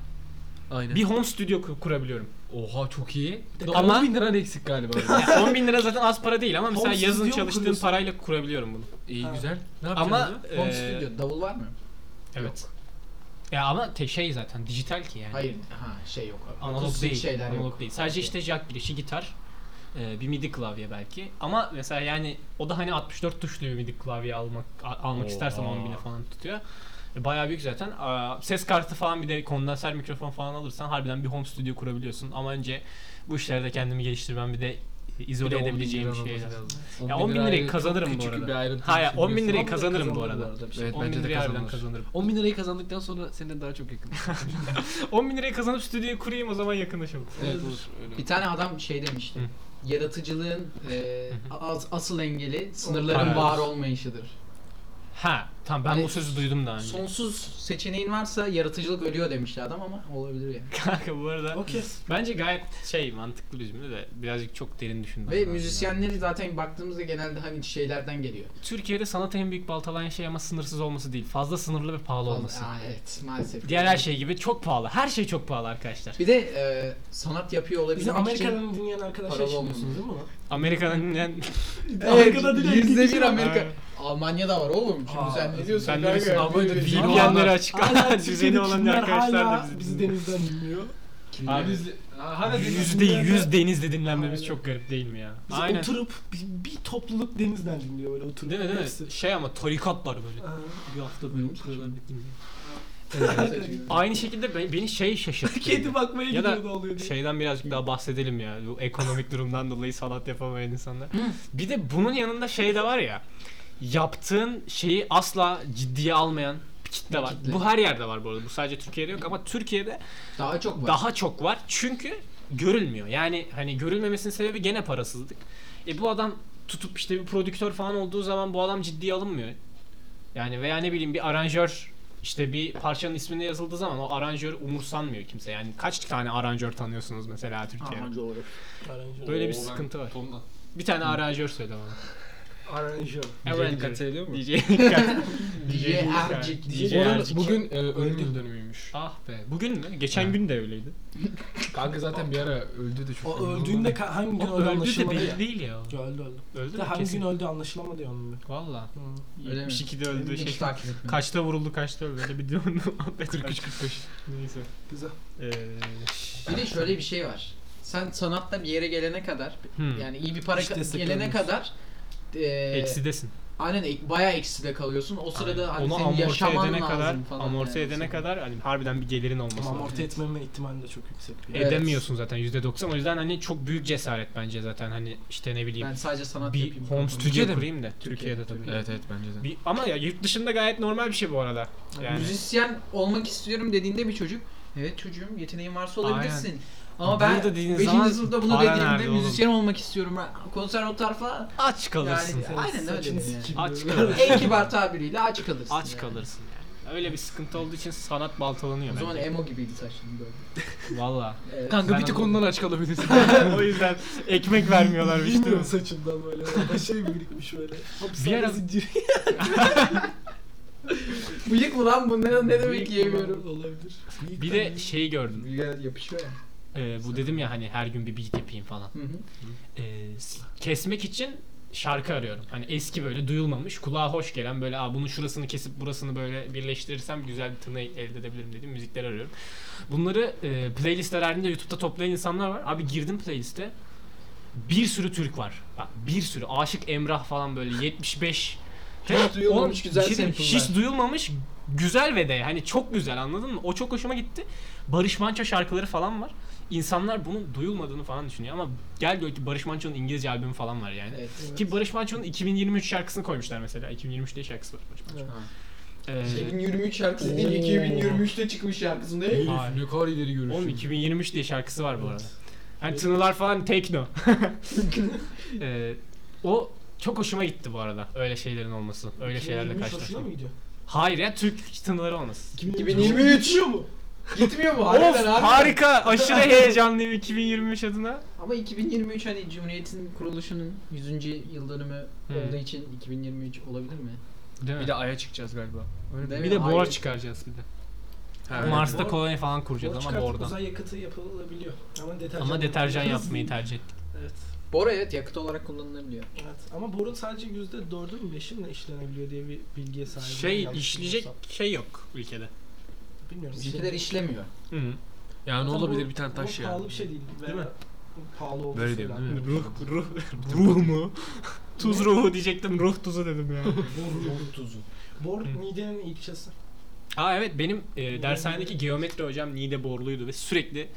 Speaker 4: Aynen.
Speaker 1: bir home stüdyo ku- kurabiliyorum.
Speaker 4: Oha çok iyi.
Speaker 1: Ama-
Speaker 4: 10 bin liran eksik galiba.
Speaker 1: Yani 10 bin lira zaten az para değil ama mesela
Speaker 2: Home
Speaker 1: yazın
Speaker 2: stüdyo mu
Speaker 1: çalıştığım
Speaker 2: kuruyorsun?
Speaker 1: parayla kurabiliyorum bunu.
Speaker 4: iyi
Speaker 2: Ha.
Speaker 4: güzel. Ne yapacaksın
Speaker 1: Ama
Speaker 4: orada?
Speaker 3: e, Home
Speaker 1: ee,
Speaker 3: Studio. Davul var mı?
Speaker 1: Evet. Ya ama te şey zaten dijital ki yani.
Speaker 3: Hayır. Ha şey yok.
Speaker 1: Analog
Speaker 3: Akustik
Speaker 1: değil.
Speaker 3: şeyler
Speaker 1: analog
Speaker 3: yok.
Speaker 1: değil. Sadece
Speaker 3: Okey.
Speaker 1: işte jack girişi, gitar, e, bir midi klavye belki. Ama mesela yani o da hani 64 tuşlu bir midi klavye almak a- almak
Speaker 4: Oha.
Speaker 1: istersen 10 bine falan tutuyor. E, bayağı büyük zaten. Aa, ses kartı falan bir de kondenser mikrofon falan alırsan harbiden bir home studio kurabiliyorsun. Ama önce bu işlerde kendimi geliştirmem bir de izole
Speaker 4: Bir de 10 bin
Speaker 1: edebileceğim
Speaker 4: liran olması
Speaker 1: şeyler.
Speaker 4: lazım.
Speaker 1: Ya 10 bin
Speaker 4: lirayı
Speaker 1: lirayı
Speaker 4: çok
Speaker 1: kazanırım bu
Speaker 4: küçük
Speaker 1: arada.
Speaker 4: bir ayrıntı
Speaker 1: Hayır,
Speaker 4: için
Speaker 1: 10 bin lirayı
Speaker 4: biliyorsun.
Speaker 1: kazanırım bu arada.
Speaker 3: bir şey.
Speaker 4: Evet
Speaker 1: 10 bin
Speaker 4: bence de
Speaker 1: lirayı harbiden
Speaker 4: kazanır.
Speaker 1: kazanırım.
Speaker 4: 10 bin lirayı kazandıktan sonra seninle daha çok yakın.
Speaker 1: 10 bin lirayı kazanıp stüdyoyu kurayım o zaman yakınlaşalım.
Speaker 4: evet olur. Öyle.
Speaker 3: Bir tane adam şey demişti.
Speaker 1: Hı.
Speaker 3: Yaratıcılığın e, as- asıl engeli
Speaker 1: Parayı.
Speaker 3: sınırların var olmayışıdır.
Speaker 1: Ha tamam ben
Speaker 3: Hani
Speaker 1: bu sözü duydum daha önce.
Speaker 3: Sonsuz seçeneğin varsa yaratıcılık ölüyor demişti adam ama olabilir yani.
Speaker 1: Kanka bu arada
Speaker 2: Okey.
Speaker 1: bence gayet şey mantıklı bir cümle de birazcık çok derin düşündüm.
Speaker 3: Ve
Speaker 1: ben bunu.
Speaker 3: müzisyenleri zaten baktığımızda genelde hani şeylerden geliyor.
Speaker 1: Türkiye'de sanat en büyük baltalayan şey ama sınırsız olması değil. Fazla sınırlı ve pahalı olması.
Speaker 3: Aa, evet maalesef.
Speaker 1: Diğer her şey gibi çok pahalı. Her şey çok pahalı arkadaşlar.
Speaker 3: Bir de e, sanat yapıyor olabilmek
Speaker 2: Bizim
Speaker 3: için...
Speaker 2: Amerika'dan dinleyen arkadaşlar
Speaker 3: paralı
Speaker 2: şimdi
Speaker 3: olmamız.
Speaker 2: diyorsunuz değil mi lan?
Speaker 1: Amerika'nın yani
Speaker 3: Evet,
Speaker 2: Amerika'da direkt
Speaker 3: yüzde bir
Speaker 1: şey
Speaker 2: gidiyor.
Speaker 3: Amerika.
Speaker 1: Evet.
Speaker 3: Almanya'da var oğlum. Şimdi
Speaker 2: Aa,
Speaker 3: sen ne diyorsun?
Speaker 1: sen
Speaker 3: kanka?
Speaker 1: neresin?
Speaker 4: Abi,
Speaker 3: Ne diyorsun?
Speaker 4: VPN
Speaker 1: VPN'leri
Speaker 4: Aa,
Speaker 1: açık.
Speaker 2: Hala
Speaker 1: Düzeni olan
Speaker 2: Türkiye'dekiler
Speaker 1: arkadaşlar da
Speaker 2: hala
Speaker 1: bizi
Speaker 2: bizi
Speaker 1: dinliyor.
Speaker 2: denizden dinliyor.
Speaker 1: Abi,
Speaker 4: Biz- Hala
Speaker 2: Biz-
Speaker 1: Yüzde yüz denizde dinlenmemiz
Speaker 2: Aynen.
Speaker 1: çok garip değil mi ya?
Speaker 2: Biz
Speaker 1: Aynen.
Speaker 2: oturup bir, bir topluluk denizden dinliyor böyle oturup.
Speaker 1: Değil mi değil
Speaker 2: Hepsi.
Speaker 1: mi? Şey ama tarikatlar böyle.
Speaker 2: Aa,
Speaker 1: Bir hafta böyle oturuyorlar dinliyor.
Speaker 3: Aa,
Speaker 1: Aynı şekilde be- beni şey şaşırttı.
Speaker 2: Kedi bakmaya
Speaker 1: Ya da şey,
Speaker 2: gidiyor da oluyor diye.
Speaker 1: Şeyden birazcık daha bahsedelim ya. Bu ekonomik durumdan dolayı sanat yapamayan insanlar. bir de bunun yanında şey de var ya. Yaptığın şeyi asla ciddiye almayan bir kitle var.
Speaker 3: kitle.
Speaker 1: Bu her yerde var bu arada. Bu sadece Türkiye'de yok ama Türkiye'de
Speaker 3: Daha çok var.
Speaker 1: daha çok var. Çünkü görülmüyor. Yani hani görülmemesinin sebebi gene parasızlık. E bu adam tutup işte bir prodüktör falan olduğu zaman bu adam ciddiye alınmıyor. Yani veya ne bileyim bir aranjör işte bir parçanın ismine yazıldığı zaman o aranjör umursanmıyor kimse. Yani kaç tane aranjör tanıyorsunuz mesela Türkiye'de?
Speaker 3: Aman doğru.
Speaker 2: Aranjör.
Speaker 1: Böyle bir
Speaker 4: Oo, ben
Speaker 1: sıkıntı var.
Speaker 4: Tonla.
Speaker 1: Bir tane aranjör söyle bana.
Speaker 2: Aranjör.
Speaker 4: Aranjör. Dikkat ediyor mu?
Speaker 1: DJ Dikkat.
Speaker 3: DJ Ercik.
Speaker 1: DJ
Speaker 4: Onun-
Speaker 1: Ercik.
Speaker 4: Bugün e, ölüm yıl dönümüymüş.
Speaker 1: Ah be. Bugün mü? Geçen gün de öyleydi.
Speaker 4: Kanka zaten bir ara öldü de çok.
Speaker 2: O
Speaker 4: önemli
Speaker 2: öldüğünde
Speaker 4: olmadı.
Speaker 2: ka- hangi gün
Speaker 1: O
Speaker 2: öldü
Speaker 1: öldü de
Speaker 2: anlaşılmadı ya.
Speaker 1: belli değil ya.
Speaker 2: Ya Öldü öldü.
Speaker 1: Öldü
Speaker 2: Bir
Speaker 1: mü?
Speaker 2: de hangi gün
Speaker 1: Kesin.
Speaker 2: öldü anlaşılamadı ya onun. bir.
Speaker 1: Valla.
Speaker 2: Hı.
Speaker 3: Öyle mi?
Speaker 1: 72'de öldü.
Speaker 3: Hiç
Speaker 1: Şey,
Speaker 3: takip etmiyorum.
Speaker 1: Kaçta vuruldu kaçta öldü öyle bir diyorum.
Speaker 4: 43 45.
Speaker 1: Neyse.
Speaker 2: Güzel.
Speaker 1: Ee,
Speaker 3: Bir de şöyle bir şey var. Sen sanatta bir yere gelene kadar
Speaker 1: hmm.
Speaker 3: yani iyi bir para
Speaker 2: Hiç
Speaker 3: ka- gelene
Speaker 2: desteklenmiyorsun.
Speaker 3: kadar e,
Speaker 1: Eksidesin.
Speaker 3: aynen ek, bayağı ekside kalıyorsun. O sırada hani
Speaker 1: Onu
Speaker 3: senin
Speaker 1: amorti
Speaker 3: yaşaman
Speaker 1: edene
Speaker 3: lazım
Speaker 1: kadar,
Speaker 3: falan.
Speaker 1: amorti
Speaker 3: yani.
Speaker 1: edene kadar hani harbiden bir gelirin olması
Speaker 2: Ama
Speaker 1: lazım.
Speaker 2: amorti etmeme ihtimali de çok yüksek.
Speaker 3: Evet.
Speaker 1: Edemiyorsun zaten %90. O yüzden hani çok büyük cesaret bence zaten hani işte ne bileyim
Speaker 3: Ben sadece sanat
Speaker 1: bir
Speaker 3: yapayım.
Speaker 1: home
Speaker 4: Türkiye'de
Speaker 1: studio
Speaker 4: mi?
Speaker 1: kurayım da Türkiye'de tabii.
Speaker 4: Evet evet bence de.
Speaker 1: Bir, ama ya yurt dışında gayet normal bir şey bu arada. Yani.
Speaker 3: Müzisyen olmak istiyorum dediğinde bir çocuk Evet çocuğum yeteneğin varsa olabilirsin. Ama
Speaker 1: Burada
Speaker 3: ben
Speaker 1: dediğiniz
Speaker 3: 5.
Speaker 1: zaman
Speaker 3: sınıfta bunu
Speaker 1: para nerede
Speaker 3: dediğimde
Speaker 1: oğlum?
Speaker 3: müzisyen olmak istiyorum. Ben Konser o tarafa
Speaker 1: Aç kalırsın.
Speaker 3: Yani- Aynen öyle
Speaker 2: Saçını
Speaker 3: yani.
Speaker 2: sikeyim
Speaker 1: Aç
Speaker 2: böyle.
Speaker 1: kalırsın.
Speaker 3: en kibar tabiriyle aç kalırsın.
Speaker 1: Aç
Speaker 3: yani.
Speaker 1: kalırsın yani. Öyle bir sıkıntı olduğu için sanat baltalanıyor
Speaker 3: O zaman
Speaker 1: bence.
Speaker 3: emo gibiydi saçların böyle.
Speaker 1: Valla.
Speaker 3: Evet.
Speaker 4: Kanka
Speaker 1: Ben
Speaker 4: bir tık
Speaker 1: anladım.
Speaker 4: ondan aç kalabilirsin.
Speaker 1: o yüzden ekmek vermiyorlar işte.
Speaker 2: Bilmiyorum saçından böyle. Orada şey birikmiş böyle. Hapishane
Speaker 1: ara-
Speaker 2: zinciri.
Speaker 3: Bıyık mı lan bu ne, ne demek yiyemiyorum.
Speaker 2: Olabilir.
Speaker 1: Bir de şeyi gördüm.
Speaker 3: Bıyığa yapışıyor ya.
Speaker 1: Ee, bu dedim ya hani her gün bir beat yapayım falan.
Speaker 3: Hı hı.
Speaker 1: Ee, s- kesmek için şarkı arıyorum. Hani eski böyle duyulmamış, kulağa hoş gelen böyle Aa, bunun şurasını kesip burasını böyle birleştirirsem güzel bir tını elde edebilirim dediğim müzikler arıyorum. Bunları e, playlistler halinde YouTube'da toplayan insanlar var. Abi girdim playliste. Bir sürü Türk var. Bak bir sürü. Aşık Emrah falan böyle 75
Speaker 2: Hiç duyulmamış
Speaker 1: Oğlum,
Speaker 2: güzel
Speaker 1: bir şey diyeyim,
Speaker 2: sample'lar.
Speaker 1: Hiç duyulmamış güzel ve de hani çok güzel anladın mı? O çok hoşuma gitti. Barış Manço şarkıları falan var. İnsanlar bunun duyulmadığını falan düşünüyor ama gel gör ki Barış Manço'nun İngilizce albümü falan var yani.
Speaker 3: Evet.
Speaker 1: Ki Barış Manço'nun 2023 şarkısını koymuşlar mesela. 2023 diye şarkısı var Barış Manço'nun. Ee,
Speaker 3: 2023 şarkısı
Speaker 1: Oo.
Speaker 3: değil 2023'te çıkmış şarkısı değil.
Speaker 1: Hayır.
Speaker 4: Elif ne kadar ileri görüşün.
Speaker 1: Oğlum 2023 diye şarkısı var bu arada. Hani tınılar falan tekno. Ee, o çok hoşuma gitti bu arada. Öyle şeylerin olması. Öyle şeylerle
Speaker 2: 2023 hoşuna
Speaker 1: karşılaşmak.
Speaker 2: mı gidiyor?
Speaker 1: Hayır ya Türk tınıları olması.
Speaker 3: 2023.
Speaker 2: Gidiyor mu?
Speaker 3: Gitmiyor mu?
Speaker 1: Of
Speaker 3: Harbiden abi.
Speaker 1: harika. Aşırı heyecanlıyım 2023 adına.
Speaker 3: Ama 2023 hani Cumhuriyet'in kuruluşunun 100. yıl dönümü
Speaker 1: Hı.
Speaker 3: olduğu için 2023 olabilir mi?
Speaker 1: Değil mi?
Speaker 4: Bir de Ay'a çıkacağız galiba. Öyle değil
Speaker 3: Değil mi?
Speaker 4: mi?
Speaker 1: Bir de
Speaker 3: Hayır.
Speaker 1: bora çıkaracağız bir de.
Speaker 4: Ha,
Speaker 1: Mars'ta
Speaker 2: Bor-
Speaker 1: koloni falan kuracağız
Speaker 2: Bor
Speaker 1: ama
Speaker 2: çıkartıp
Speaker 1: bordan.
Speaker 2: uzay yakıtı yapılabiliyor. Ama deterjan,
Speaker 1: Ama deterjan
Speaker 2: yapılıyor.
Speaker 1: yapmayı tercih ettik.
Speaker 2: Evet.
Speaker 3: Bora evet yakıt olarak kullanılabiliyor.
Speaker 2: Evet. Ama borun sadece %4'ü mü 5'i mi işlenebiliyor diye bir bilgiye sahibim.
Speaker 1: Şey
Speaker 2: Yanlış
Speaker 1: işleyecek
Speaker 2: bilmiyorsam.
Speaker 1: şey yok ülkede.
Speaker 2: Bilmiyorum.
Speaker 3: Bir şey- şeyler işlemiyor.
Speaker 1: Hı -hı.
Speaker 4: Yani
Speaker 2: Zaten
Speaker 4: olabilir
Speaker 2: bu-
Speaker 4: bir tane taş
Speaker 2: bu
Speaker 4: ya.
Speaker 2: pahalı bir şey değil.
Speaker 1: Değil mi?
Speaker 2: Bu Pahalı olduğu
Speaker 4: Böyle diyorum değil mi?
Speaker 1: Ruh, ruh, ruh mu? Tuz ruhu diyecektim, ruh tuzu dedim ya.
Speaker 2: Bor, bor tuzu. Bor midenin ilçesi.
Speaker 1: Aa evet benim e, dershanedeki geometri hocam Niğde borluydu ve sürekli e,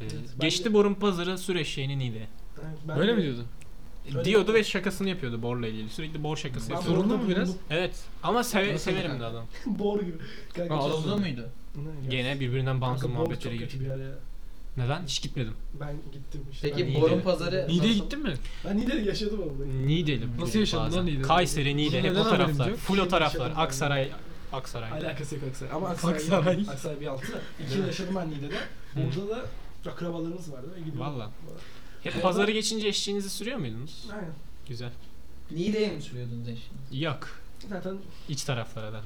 Speaker 2: ben
Speaker 1: geçti
Speaker 2: de-
Speaker 1: borun pazarı süreç şeyini Niğde.
Speaker 2: Yani ben
Speaker 4: Böyle
Speaker 2: de-
Speaker 4: mi diyordun?
Speaker 2: Öyle
Speaker 1: Diyordu
Speaker 2: mi?
Speaker 1: ve şakasını yapıyordu borla ilgili. Sürekli bor şakası
Speaker 2: Ben
Speaker 1: yapıyordu.
Speaker 4: Zorunda
Speaker 2: borda
Speaker 4: mı biraz?
Speaker 2: bulundum.
Speaker 1: Evet ama seve-
Speaker 3: Nasıl
Speaker 1: severim
Speaker 3: yani?
Speaker 1: de adam.
Speaker 2: Bor gibi. Kanka,
Speaker 4: Aa,
Speaker 2: çok-
Speaker 4: Alonso
Speaker 3: Alonso muydu?
Speaker 2: Ne ya?
Speaker 1: Gene birbirinden
Speaker 2: Kanka,
Speaker 1: bağımsız
Speaker 2: bor
Speaker 1: muhabbetlere
Speaker 2: çok kötü
Speaker 1: giriyor.
Speaker 2: bir yer ya.
Speaker 1: Neden? Hiç gitmedim.
Speaker 2: Ben gittim işte.
Speaker 3: Peki
Speaker 2: Ben
Speaker 1: Niğde-
Speaker 3: borun pazarı
Speaker 4: Niğde'ye
Speaker 3: nasıl-
Speaker 4: gittin mi?
Speaker 2: Ben Niğde'de yaşadım ama.
Speaker 1: Niğde'li.
Speaker 4: Nasıl yaşadın
Speaker 1: bazen.
Speaker 4: lan Niğde'de?
Speaker 1: Kayseri, Niğde. Hep
Speaker 4: Neden
Speaker 1: o taraflar.
Speaker 4: haberim yok?
Speaker 1: Full o taraflar.
Speaker 2: Yaşadım ben.
Speaker 1: Aksaray. Aksaray.
Speaker 2: Alakası yok Aksaray. Ama Aksaray,
Speaker 4: Aksaray.
Speaker 2: Aksaray bir altı da. İki yıl yaşadım ben Niğde'de. Burada da akrabalarımız vardı ve gidiyorduk.
Speaker 1: Valla. Hep pazarı geçince eşliğinizi sürüyor muydunuz?
Speaker 2: Aynen.
Speaker 1: Güzel.
Speaker 3: Niğde'ye mi sürüyordunuz eşini?
Speaker 1: Yok.
Speaker 2: Zaten
Speaker 1: İç taraflara da.